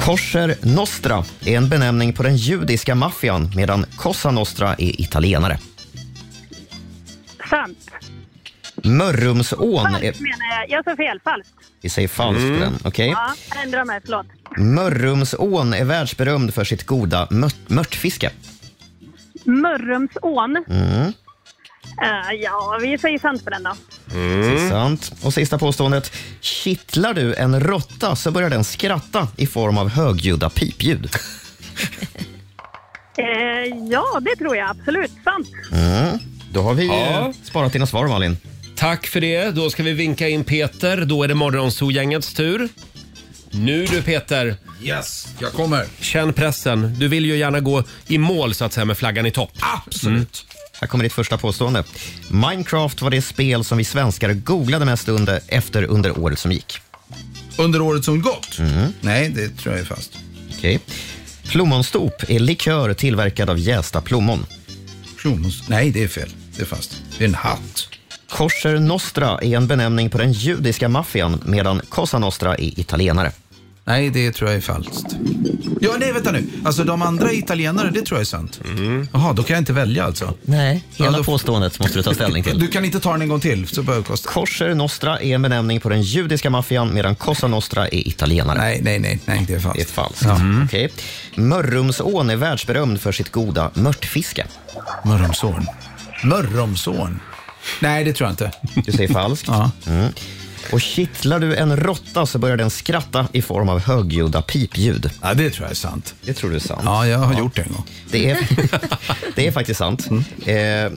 [SPEAKER 6] Korser Nostra är en benämning på den judiska maffian medan Cosa Nostra är italienare.
[SPEAKER 4] Sant.
[SPEAKER 6] Mörrumsån är...
[SPEAKER 4] Falskt menar jag. Jag sa fel. Falskt.
[SPEAKER 6] Vi säger falskt på den. Okej.
[SPEAKER 4] Ja, ändra mig. Förlåt.
[SPEAKER 6] Mörrumsån är världsberömd för sitt goda mört- mörtfiske.
[SPEAKER 4] Mörrumsån.
[SPEAKER 6] Mm.
[SPEAKER 4] Eh, ja, vi säger sant på den då.
[SPEAKER 6] Så Sant. Och sista påståendet. Kittlar du en råtta så börjar den skratta i form av högljudda pipljud.
[SPEAKER 4] Eh, ja, det tror jag absolut. Sant.
[SPEAKER 6] Mm. Då har vi
[SPEAKER 1] Ja.
[SPEAKER 6] eh, sparat dina svar, Malin.
[SPEAKER 1] Tack för det. Då ska vi vinka in Peter. Då är det Morgonzoo-gängets tur. Nu du Peter.
[SPEAKER 8] Yes, jag kommer.
[SPEAKER 1] Känn pressen. Du vill ju gärna gå i mål så att säga med flaggan i topp.
[SPEAKER 8] Absolut.
[SPEAKER 6] Här kommer ditt första påstående. Minecraft var det spel som vi svenskar googlade mest under, efter under året som gick.
[SPEAKER 8] Under året som gått? Nej, det tror jag är fast.
[SPEAKER 6] Okej. Plommonstop är likör tillverkad av jästa plommon.
[SPEAKER 8] Plommonstop? Nej, det är fel. Det är fast. Det är en hatt.
[SPEAKER 6] Korser Nostra är en benämning på den judiska maffian medan Cosa Nostra är italienare.
[SPEAKER 8] Nej, det tror jag är falskt. Ja, nej, vänta nu. Alltså de andra är italienare, det tror jag är sant. Jaha, då kan jag inte välja alltså?
[SPEAKER 6] Nej, hela
[SPEAKER 8] Ja, då-
[SPEAKER 6] påståendet måste <laughs> du ta ställning till.
[SPEAKER 8] Du kan inte ta den en gång till. Så behöver kosta.
[SPEAKER 6] Korser Nostra är en benämning på den judiska maffian medan Cosa Nostra är italienare.
[SPEAKER 8] Nej, nej, nej, nej det är falskt.
[SPEAKER 6] Det är falskt. Okej. Mörrumsån är världsberömd för sitt goda mörtfiske.
[SPEAKER 8] Mörrumsån? Mörrumsån? Nej, det tror jag inte.
[SPEAKER 6] Du säger <laughs> falskt. mm. Och kittlar du en råtta så börjar den skratta i form av högljudda pipljud.
[SPEAKER 8] Ja, det tror jag är sant.
[SPEAKER 6] Det tror du är sant.
[SPEAKER 8] Ja, jag har gjort det en gång.
[SPEAKER 6] Det är, det är <laughs> faktiskt sant. Eh,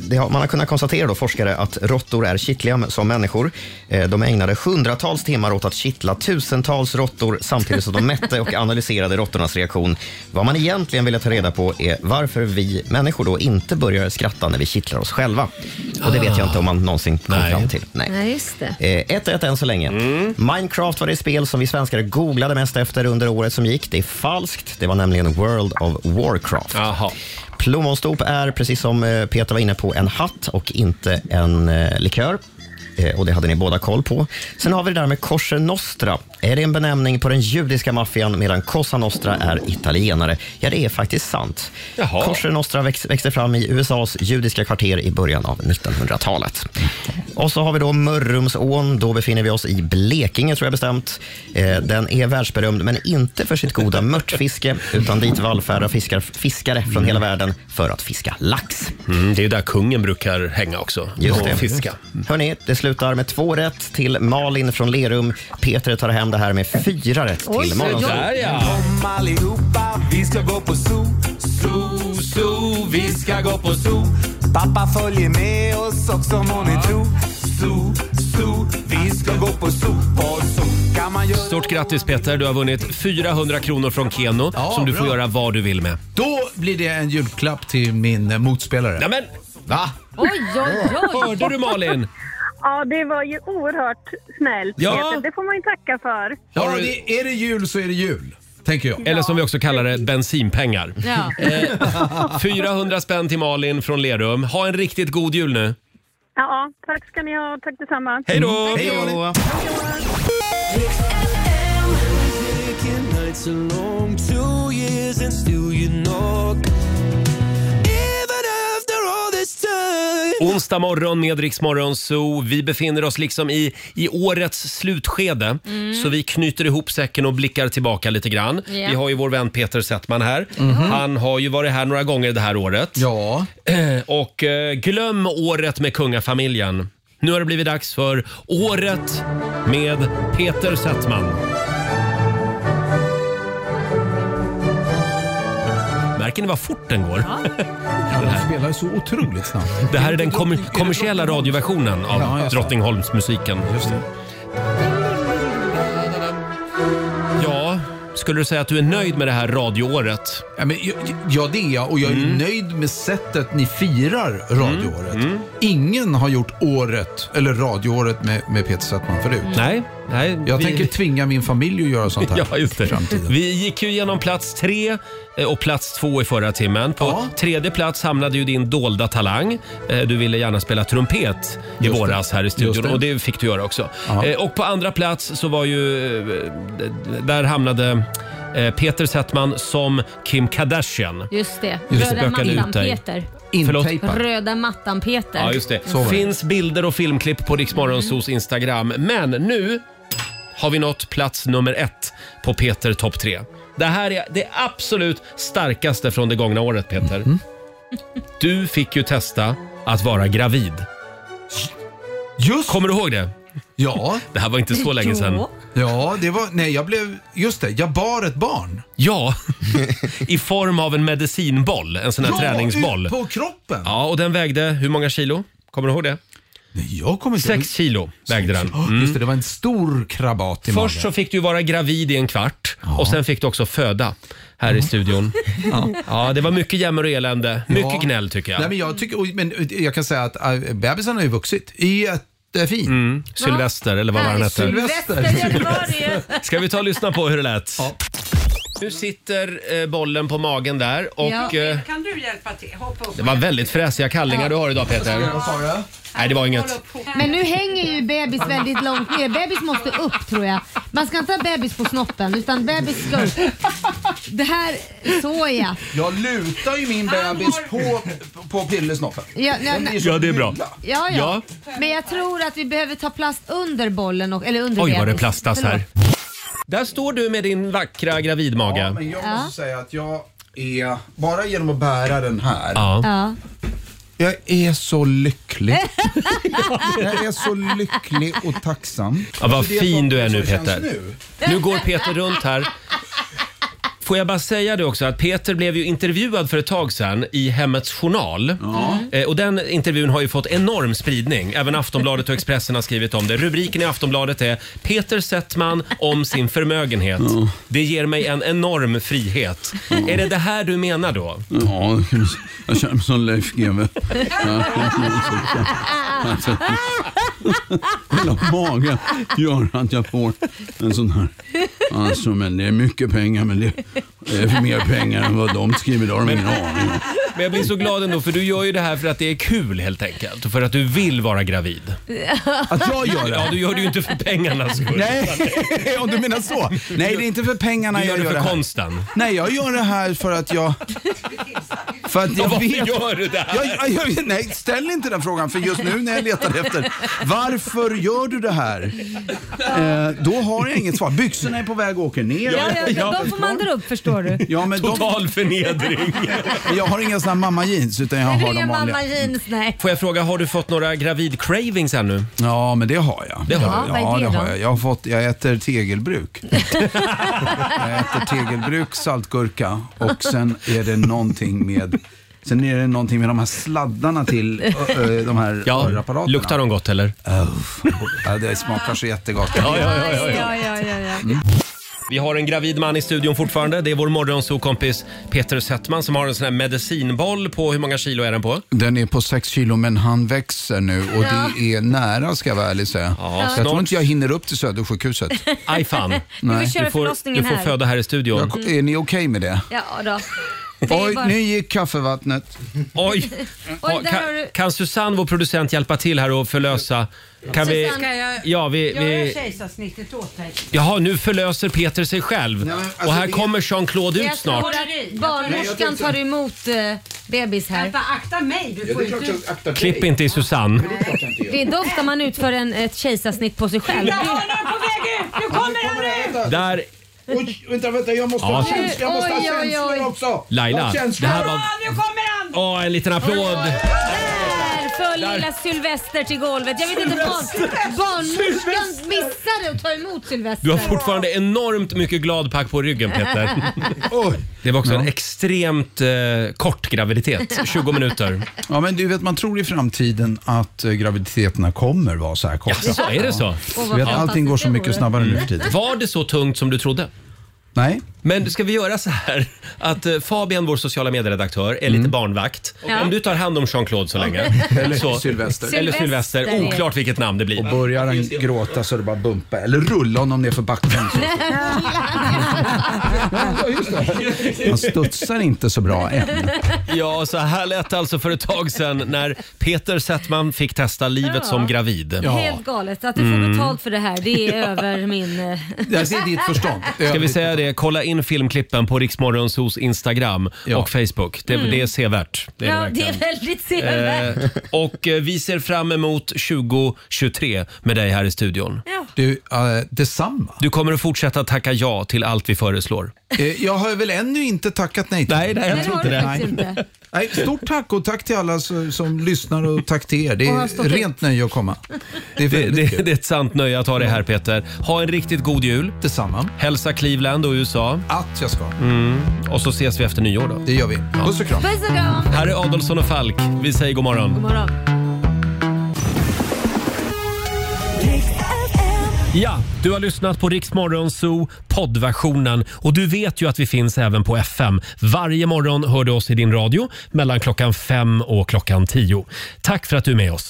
[SPEAKER 6] det har, man har kunnat konstatera, då, forskare, att råttor är kittliga som människor. Eh, de ägnade hundratals timmar åt att kittla tusentals råttor samtidigt som de mätte och analyserade råttornas reaktion. Vad man egentligen ville ta reda på är varför vi människor då inte börjar skratta när vi kittlar oss själva. Och det vet jag inte om man någonsin kom fram till. Nej.
[SPEAKER 2] Nej, just det.
[SPEAKER 6] Eh, 1-1 än så länge. Minecraft var det spel som vi svenskar googlade mest efter under året som gick. Det är falskt. Det var nämligen World of Warcraft. Plommonstop är, precis som eh, Peter var inne på, en hatt och inte en eh, likör. Eh, Och Det hade ni båda koll på. Sen har vi det där med Corse Nostra. Är det en benämning på den judiska maffian medan Cosa Nostra är italienare? Ja, det är faktiskt sant.
[SPEAKER 1] Jaha.
[SPEAKER 6] Corse Nostra väx- växte fram i USAs judiska kvarter i början av 1900-talet. Och så har vi då Mörrumsån. Då befinner vi oss i Blekinge, tror jag bestämt. Eh, Den är världsberömd, men inte för sitt goda mörtfiske, utan dit vallfärdar fiskar, fiskare från hela världen för att fiska lax.
[SPEAKER 1] Mm, det är där kungen brukar hänga också.
[SPEAKER 6] Just
[SPEAKER 1] och
[SPEAKER 6] det.
[SPEAKER 1] Fiska.
[SPEAKER 6] Hörni, det slutar med två rätt till Malin från Lerum. Peter tar hem det här med fyra rätt till Malin.
[SPEAKER 13] Kom allihopa, vi ska gå på zoo, zoo, zoo, vi ska gå på zoo. Pappa följer med oss också om hon är tro. Zoo, zoo, vi ska gå på zoo, på zoo. Kan man göra
[SPEAKER 1] Stort grattis Peter, du har vunnit 400 kronor från Keno som du får
[SPEAKER 8] bra.
[SPEAKER 1] göra vad du vill med.
[SPEAKER 8] Då blir det en julklapp till min eh, motspelare.
[SPEAKER 1] Nämen!
[SPEAKER 8] Va?
[SPEAKER 2] Oj, oj, oj.
[SPEAKER 1] Hörde du Malin?
[SPEAKER 4] Ja, det var ju oerhört snällt.
[SPEAKER 8] Ja.
[SPEAKER 4] Peter. Det får man ju tacka för.
[SPEAKER 8] Ja, det, är det jul så är det jul, tänker jag.
[SPEAKER 1] Eller som vi också kallar det, bensinpengar.
[SPEAKER 4] Ja.
[SPEAKER 1] Eh, 400 spänn till Malin från Lerum. Ha en riktigt god jul nu.
[SPEAKER 4] Ja, tack ska ni ha. Tack detsamma.
[SPEAKER 1] Hej då!
[SPEAKER 13] Taking nights alone, two years and still you knock. Even after all this time.
[SPEAKER 1] Onsdag morgon med Rix Morgon Zoo. Vi befinner oss liksom i, i årets slutskede.
[SPEAKER 13] Mm.
[SPEAKER 1] Så vi knyter ihop säcken och blickar tillbaka lite grann.
[SPEAKER 13] Ja.
[SPEAKER 1] Vi har ju vår vän Peter Settman här.
[SPEAKER 13] Mhm.
[SPEAKER 1] Han har ju varit här några gånger det här året.
[SPEAKER 8] Ja.
[SPEAKER 1] Och eh, glöm året med kungafamiljen. Nu har det blivit dags för året med Peter Settman. Märker ni vad fort den går?
[SPEAKER 8] Ja, de spelar ju så otroligt snabbt.
[SPEAKER 1] Det här är den kommer- kommersiella radioversionen av
[SPEAKER 8] Ja, just det.
[SPEAKER 1] Drottningholmsmusiken. Ja, skulle du säga att du är nöjd med det här radioåret?
[SPEAKER 8] Ja, men, ja, ja, det är jag och jag är ju
[SPEAKER 1] Mm.
[SPEAKER 8] nöjd med sättet ni firar radioåret. Ingen har gjort året, eller radioåret med, med Peter Settman förut.
[SPEAKER 1] Nej, nej.
[SPEAKER 8] Jag
[SPEAKER 1] vi-
[SPEAKER 8] tänker tvinga min familj att göra sånt här.
[SPEAKER 1] <laughs> Ja, just det. Vi gick ju igenom plats tre eh, och plats två i förra timmen. På tredje plats hamnade ju din dolda talang. Eh, Du ville gärna spela trumpet i
[SPEAKER 13] Just det.
[SPEAKER 1] våras här i studion
[SPEAKER 13] Just det.
[SPEAKER 1] och det fick du göra också.
[SPEAKER 13] Ja.
[SPEAKER 1] Eh, Och på andra plats så var ju... eh, d- Där hamnade eh, Peter Settman som Kim Kardashian.
[SPEAKER 2] Just det.
[SPEAKER 1] Just det,
[SPEAKER 2] Röda
[SPEAKER 1] spökade ut dig.
[SPEAKER 2] mattan-Peter.
[SPEAKER 1] Förlåt?
[SPEAKER 2] Röda mattan-Peter.
[SPEAKER 1] Ja, just det.
[SPEAKER 2] Mm.
[SPEAKER 1] Finns bilder och filmklipp på Riksmorgonsos Instagram. Men nu har vi nått plats nummer ett på Peter topp tre. Det här är det absolut starkaste från det gångna året, Peter. Du fick ju testa att vara gravid.
[SPEAKER 8] Just.
[SPEAKER 1] Kommer du ihåg det?
[SPEAKER 8] Ja.
[SPEAKER 1] Det här var inte så länge sedan.
[SPEAKER 8] Ja, det var... Nej, jag blev... Just det, jag bar ett barn.
[SPEAKER 1] Ja, <laughs> i form av en medicinboll, en sån här
[SPEAKER 8] Ja,
[SPEAKER 1] träningsboll.
[SPEAKER 8] ut på kroppen.
[SPEAKER 1] Ja, och den vägde hur många kilo? Kommer du ihåg det?
[SPEAKER 8] Nej, jag kommer inte
[SPEAKER 1] Sex kilo vägde den.
[SPEAKER 8] Oh, Just det, det var en stor krabat i
[SPEAKER 1] Först så fick du vara gravid i en kvart och sen fick du också föda här i studion. <laughs> Ja. det var mycket jämmer och elände. Mycket
[SPEAKER 8] Ja.
[SPEAKER 1] gnäll tycker jag.
[SPEAKER 8] Nej, men jag, tycker, oj, men jag kan säga att äh, bebisen har ju vuxit. Jättefin. Mm.
[SPEAKER 1] Sylvester eller vad var han hette?
[SPEAKER 8] Sylvester.
[SPEAKER 1] Ska vi ta och lyssna på hur det lät? Nu sitter eh, bollen på magen där och eh,
[SPEAKER 5] Kan du hjälpa till? Hoppa upp.
[SPEAKER 1] det var väldigt fräsiga kallingar du har idag Peter.
[SPEAKER 5] Vad sa
[SPEAKER 1] du? Nej, det var inget.
[SPEAKER 2] Men nu hänger ju bebis väldigt långt ner. Bebis måste upp tror jag. Man ska inte ha bebis på snoppen utan bebis ska upp. Det här, så ja.
[SPEAKER 16] Jag lutar ju min bebis på, på pillersnoppen.
[SPEAKER 2] Ja, ja,
[SPEAKER 16] Den blir
[SPEAKER 2] nej.
[SPEAKER 16] så
[SPEAKER 1] Ja, det är bra.
[SPEAKER 16] himla.
[SPEAKER 2] Ja, ja. Men jag tror att vi behöver ta plast under bollen och, eller under
[SPEAKER 1] Oj vad det
[SPEAKER 2] bebis.
[SPEAKER 1] plastas här.
[SPEAKER 2] Förlåt.
[SPEAKER 1] Där står du med din vackra
[SPEAKER 16] Ja,
[SPEAKER 1] gravidmage.
[SPEAKER 16] men jag
[SPEAKER 2] Ja.
[SPEAKER 16] måste säga att jag är, bara genom att bära den här,
[SPEAKER 2] Ja.
[SPEAKER 16] jag är så
[SPEAKER 8] <laughs>
[SPEAKER 16] lycklig. jag är så lycklig och tacksam.
[SPEAKER 1] Ja,
[SPEAKER 8] Alltså,
[SPEAKER 1] vad
[SPEAKER 16] För det
[SPEAKER 1] fin
[SPEAKER 16] som-
[SPEAKER 1] du är
[SPEAKER 16] som
[SPEAKER 1] nu
[SPEAKER 16] känns
[SPEAKER 1] Peter.
[SPEAKER 16] nu.
[SPEAKER 1] Nu går Peter runt här. Får jag bara säga det också att Peter blev ju intervjuad för ett tag sedan i Hemmets Journal. Eh, Och den intervjun har ju fått enorm spridning. Även Aftonbladet och Expressen har skrivit om det. Rubriken i Aftonbladet är Peter Settman om sin förmögenhet. Det ger mig en enorm frihet. Är det det här du menar då?
[SPEAKER 15] Ja, jag känner mig som Leif GW. Ja, alltså, Hela magen gör att jag får en sån här. Alltså, men det är mycket pengar, men det är mer pengar än vad de skriver. Det har de ingen aning om.
[SPEAKER 1] Men jag blir så glad ändå för du gör ju det här för att det är kul helt enkelt. Och För att du vill vara gravid.
[SPEAKER 8] Att
[SPEAKER 1] <laughs>
[SPEAKER 8] jag gör det?
[SPEAKER 1] Ja, du gör det ju inte för pengarnas skull.
[SPEAKER 8] Nej, <laughs> om du menar så. Nej, det är inte för pengarna
[SPEAKER 1] Du gör
[SPEAKER 8] jag
[SPEAKER 1] det
[SPEAKER 8] gör
[SPEAKER 1] för
[SPEAKER 8] här.
[SPEAKER 1] konsten.
[SPEAKER 8] Nej, jag gör det här för att jag... För att jag
[SPEAKER 1] Varför
[SPEAKER 8] vet...
[SPEAKER 1] gör du det här?
[SPEAKER 8] Jag, jag, jag, nej, ställ inte den frågan för just nu när jag letar efter varför gör du det här? Eh, då har jag inget svar. Byxorna är på väg och åker ner.
[SPEAKER 2] Ja, ja, de får man dra upp förstår du.
[SPEAKER 8] Ja, men
[SPEAKER 1] Total förnedring.
[SPEAKER 8] Jag har inga såna här mamma-jeans utan jag
[SPEAKER 2] Nej,
[SPEAKER 8] har
[SPEAKER 2] du är
[SPEAKER 8] de vanliga.
[SPEAKER 2] mamma jeans, nej.
[SPEAKER 1] Får jag fråga, har du fått några gravid-cravings ännu?
[SPEAKER 8] Ja, men det har jag.
[SPEAKER 1] Det har
[SPEAKER 8] ja,
[SPEAKER 1] du?
[SPEAKER 8] ja, det har jag. Jag, har fått, jag äter tegelbruk. jag äter tegelbruk, saltgurka och sen är det någonting med Sen är det någonting med de här sladdarna till ö, ö, de här
[SPEAKER 1] Ja,
[SPEAKER 8] hörapparaterna.
[SPEAKER 1] luktar de gott eller?
[SPEAKER 8] Ja, det smakar så jättegott.
[SPEAKER 1] Ja, ja, ja, ja, ja.
[SPEAKER 2] Ja, ja, ja, ja.
[SPEAKER 1] Vi har en gravid man i studion fortfarande. Det är vår morgonsokompis Peter Settman som har en sån här medicinboll på, hur många kilo är den på?
[SPEAKER 8] Den är på 6 kilo men han växer nu och det är nära ska jag vara ärlig säga.
[SPEAKER 1] Ja,
[SPEAKER 8] Så jag tror
[SPEAKER 1] snart.
[SPEAKER 8] inte jag hinner upp till Södersjukhuset.
[SPEAKER 1] Aj fan.
[SPEAKER 8] Nej.
[SPEAKER 1] Du får, du får föda här i studion.
[SPEAKER 8] Jag, är ni okej med det?
[SPEAKER 2] Ja då. Det är
[SPEAKER 8] Oj,
[SPEAKER 2] bara-
[SPEAKER 8] nu gick kaffevattnet.
[SPEAKER 1] Oj!
[SPEAKER 2] Oj,
[SPEAKER 1] Ja,
[SPEAKER 2] där har
[SPEAKER 1] kan,
[SPEAKER 2] du-
[SPEAKER 1] kan Susanne, vår producent, hjälpa till här och förlösa? Kan vi...
[SPEAKER 5] Susanne, ska jag-
[SPEAKER 1] Ja, vi,
[SPEAKER 5] Jag gör
[SPEAKER 1] vi...
[SPEAKER 5] kejsarsnittet åt dig.
[SPEAKER 1] Jaha, nu förlöser Peter sig själv.
[SPEAKER 5] men alltså,
[SPEAKER 1] Och här
[SPEAKER 5] vi-
[SPEAKER 1] kommer Jean-Claude ut
[SPEAKER 2] Jag
[SPEAKER 1] snart.
[SPEAKER 2] tror att barnmorskan tar emot eh, bebis här.
[SPEAKER 5] Vänta, akta mig. Du får inte...
[SPEAKER 1] Klipp inte i Susanne.
[SPEAKER 2] Det är då ofta man utför en, ett kejsarsnitt på sig själv.
[SPEAKER 5] Jag har honom på väg ut! Nu kommer han ut!
[SPEAKER 1] Där...
[SPEAKER 16] Oj, vänta, vänta, jag måste ha
[SPEAKER 1] Ja.
[SPEAKER 16] känslor. Jag måste ha
[SPEAKER 2] Oj, oj, oj.
[SPEAKER 16] känslor också.
[SPEAKER 1] Laila,
[SPEAKER 16] Ha känslor.
[SPEAKER 1] det här var-
[SPEAKER 5] Ja, nu kommer han!
[SPEAKER 1] Åh, en liten applåd.
[SPEAKER 2] Där föll lilla Sylvester till golvet. Jag vet inte, barn, barnmorskan missade att ta emot Sylvester.
[SPEAKER 1] Du har fortfarande enormt mycket gladpack på ryggen <laughs> Peter. Det var också en extremt eh, kort <laughs> graviditet, 20 minuter.
[SPEAKER 8] Ja, men du vet, man tror i framtiden att eh, graviditeterna kommer vara så här korta.
[SPEAKER 1] Jaså, är det så?
[SPEAKER 8] Ja.
[SPEAKER 1] Åh, vad
[SPEAKER 8] Du vet,
[SPEAKER 1] fantastiskt
[SPEAKER 8] allting går så
[SPEAKER 1] det
[SPEAKER 8] mycket
[SPEAKER 1] vore. Mm.
[SPEAKER 8] snabbare nu för tiden.
[SPEAKER 1] Var det så tungt som du trodde?
[SPEAKER 8] Nej.
[SPEAKER 1] Men ska vi göra så här att eh, Fabian, vår sociala medieredaktör, är lite barnvakt.
[SPEAKER 2] Ja.
[SPEAKER 1] Om du tar hand om Jean-Claude så <laughs> länge.
[SPEAKER 8] Eller
[SPEAKER 1] så,
[SPEAKER 8] Sylvester.
[SPEAKER 1] Eller
[SPEAKER 2] Sylvester,
[SPEAKER 1] Sylvester,
[SPEAKER 2] ja.
[SPEAKER 1] oklart vilket namn det
[SPEAKER 8] Och
[SPEAKER 1] blir.
[SPEAKER 8] börjar han gråta så är det bara bumpa. Eller rulla honom ner
[SPEAKER 1] <laughs>
[SPEAKER 8] för backen. Han studsar inte så bra än.
[SPEAKER 1] Ja, så här lät det alltså för ett tag sedan när Peter Settman fick testa livet
[SPEAKER 2] Ja.
[SPEAKER 1] som gravid.
[SPEAKER 2] Helt galet. Att du får
[SPEAKER 1] Mm.
[SPEAKER 2] betalt för det här, det är över min... eh,
[SPEAKER 1] Ska vi säga det? Kolla in filmklippen på Riksmorgonsos Instagram och Facebook. Det,
[SPEAKER 2] Mm.
[SPEAKER 1] det är sevärt. Det är det
[SPEAKER 2] <laughs> ja, det
[SPEAKER 1] verkligen.
[SPEAKER 2] är väldigt sevärt.
[SPEAKER 1] Eh, och eh, vi ser fram emot 2023 med dig här i studion.
[SPEAKER 2] Ja.
[SPEAKER 8] Du, uh, detsamma.
[SPEAKER 1] Du kommer att fortsätta tacka ja till allt vi föreslår.
[SPEAKER 8] Eh, Jag har väl ännu inte tackat nej till
[SPEAKER 1] Nej, nej, jag Nej, det tror har inte du det. faktiskt
[SPEAKER 2] inte.
[SPEAKER 8] Nej, stort tack och tack till alla som, som lyssnar och tack till er. Det
[SPEAKER 2] Och har stått
[SPEAKER 8] är
[SPEAKER 2] ut.
[SPEAKER 8] rent nöje att komma. Det är
[SPEAKER 1] Det,
[SPEAKER 8] väldigt
[SPEAKER 1] det,
[SPEAKER 8] kul.
[SPEAKER 1] det är ett sant nöje att ha dig här Peter. Ha en riktigt god jul.
[SPEAKER 8] Detsamma.
[SPEAKER 1] Hälsa Cleveland och USA.
[SPEAKER 8] Att jag ska.
[SPEAKER 1] Mm. Och så ses vi efter nyår då.
[SPEAKER 8] Det gör vi. Puss och kram.
[SPEAKER 2] Puss och kram.
[SPEAKER 1] Här är Adolfsson och Falk. Vi säger god morgon.
[SPEAKER 2] God morgon.
[SPEAKER 1] Ja, du har lyssnat på Riksmorgon Zoo poddversionen och du vet ju att vi finns även på FM. Varje morgon hör du oss i din radio mellan klockan fem och klockan tio. Tack för att du är med oss.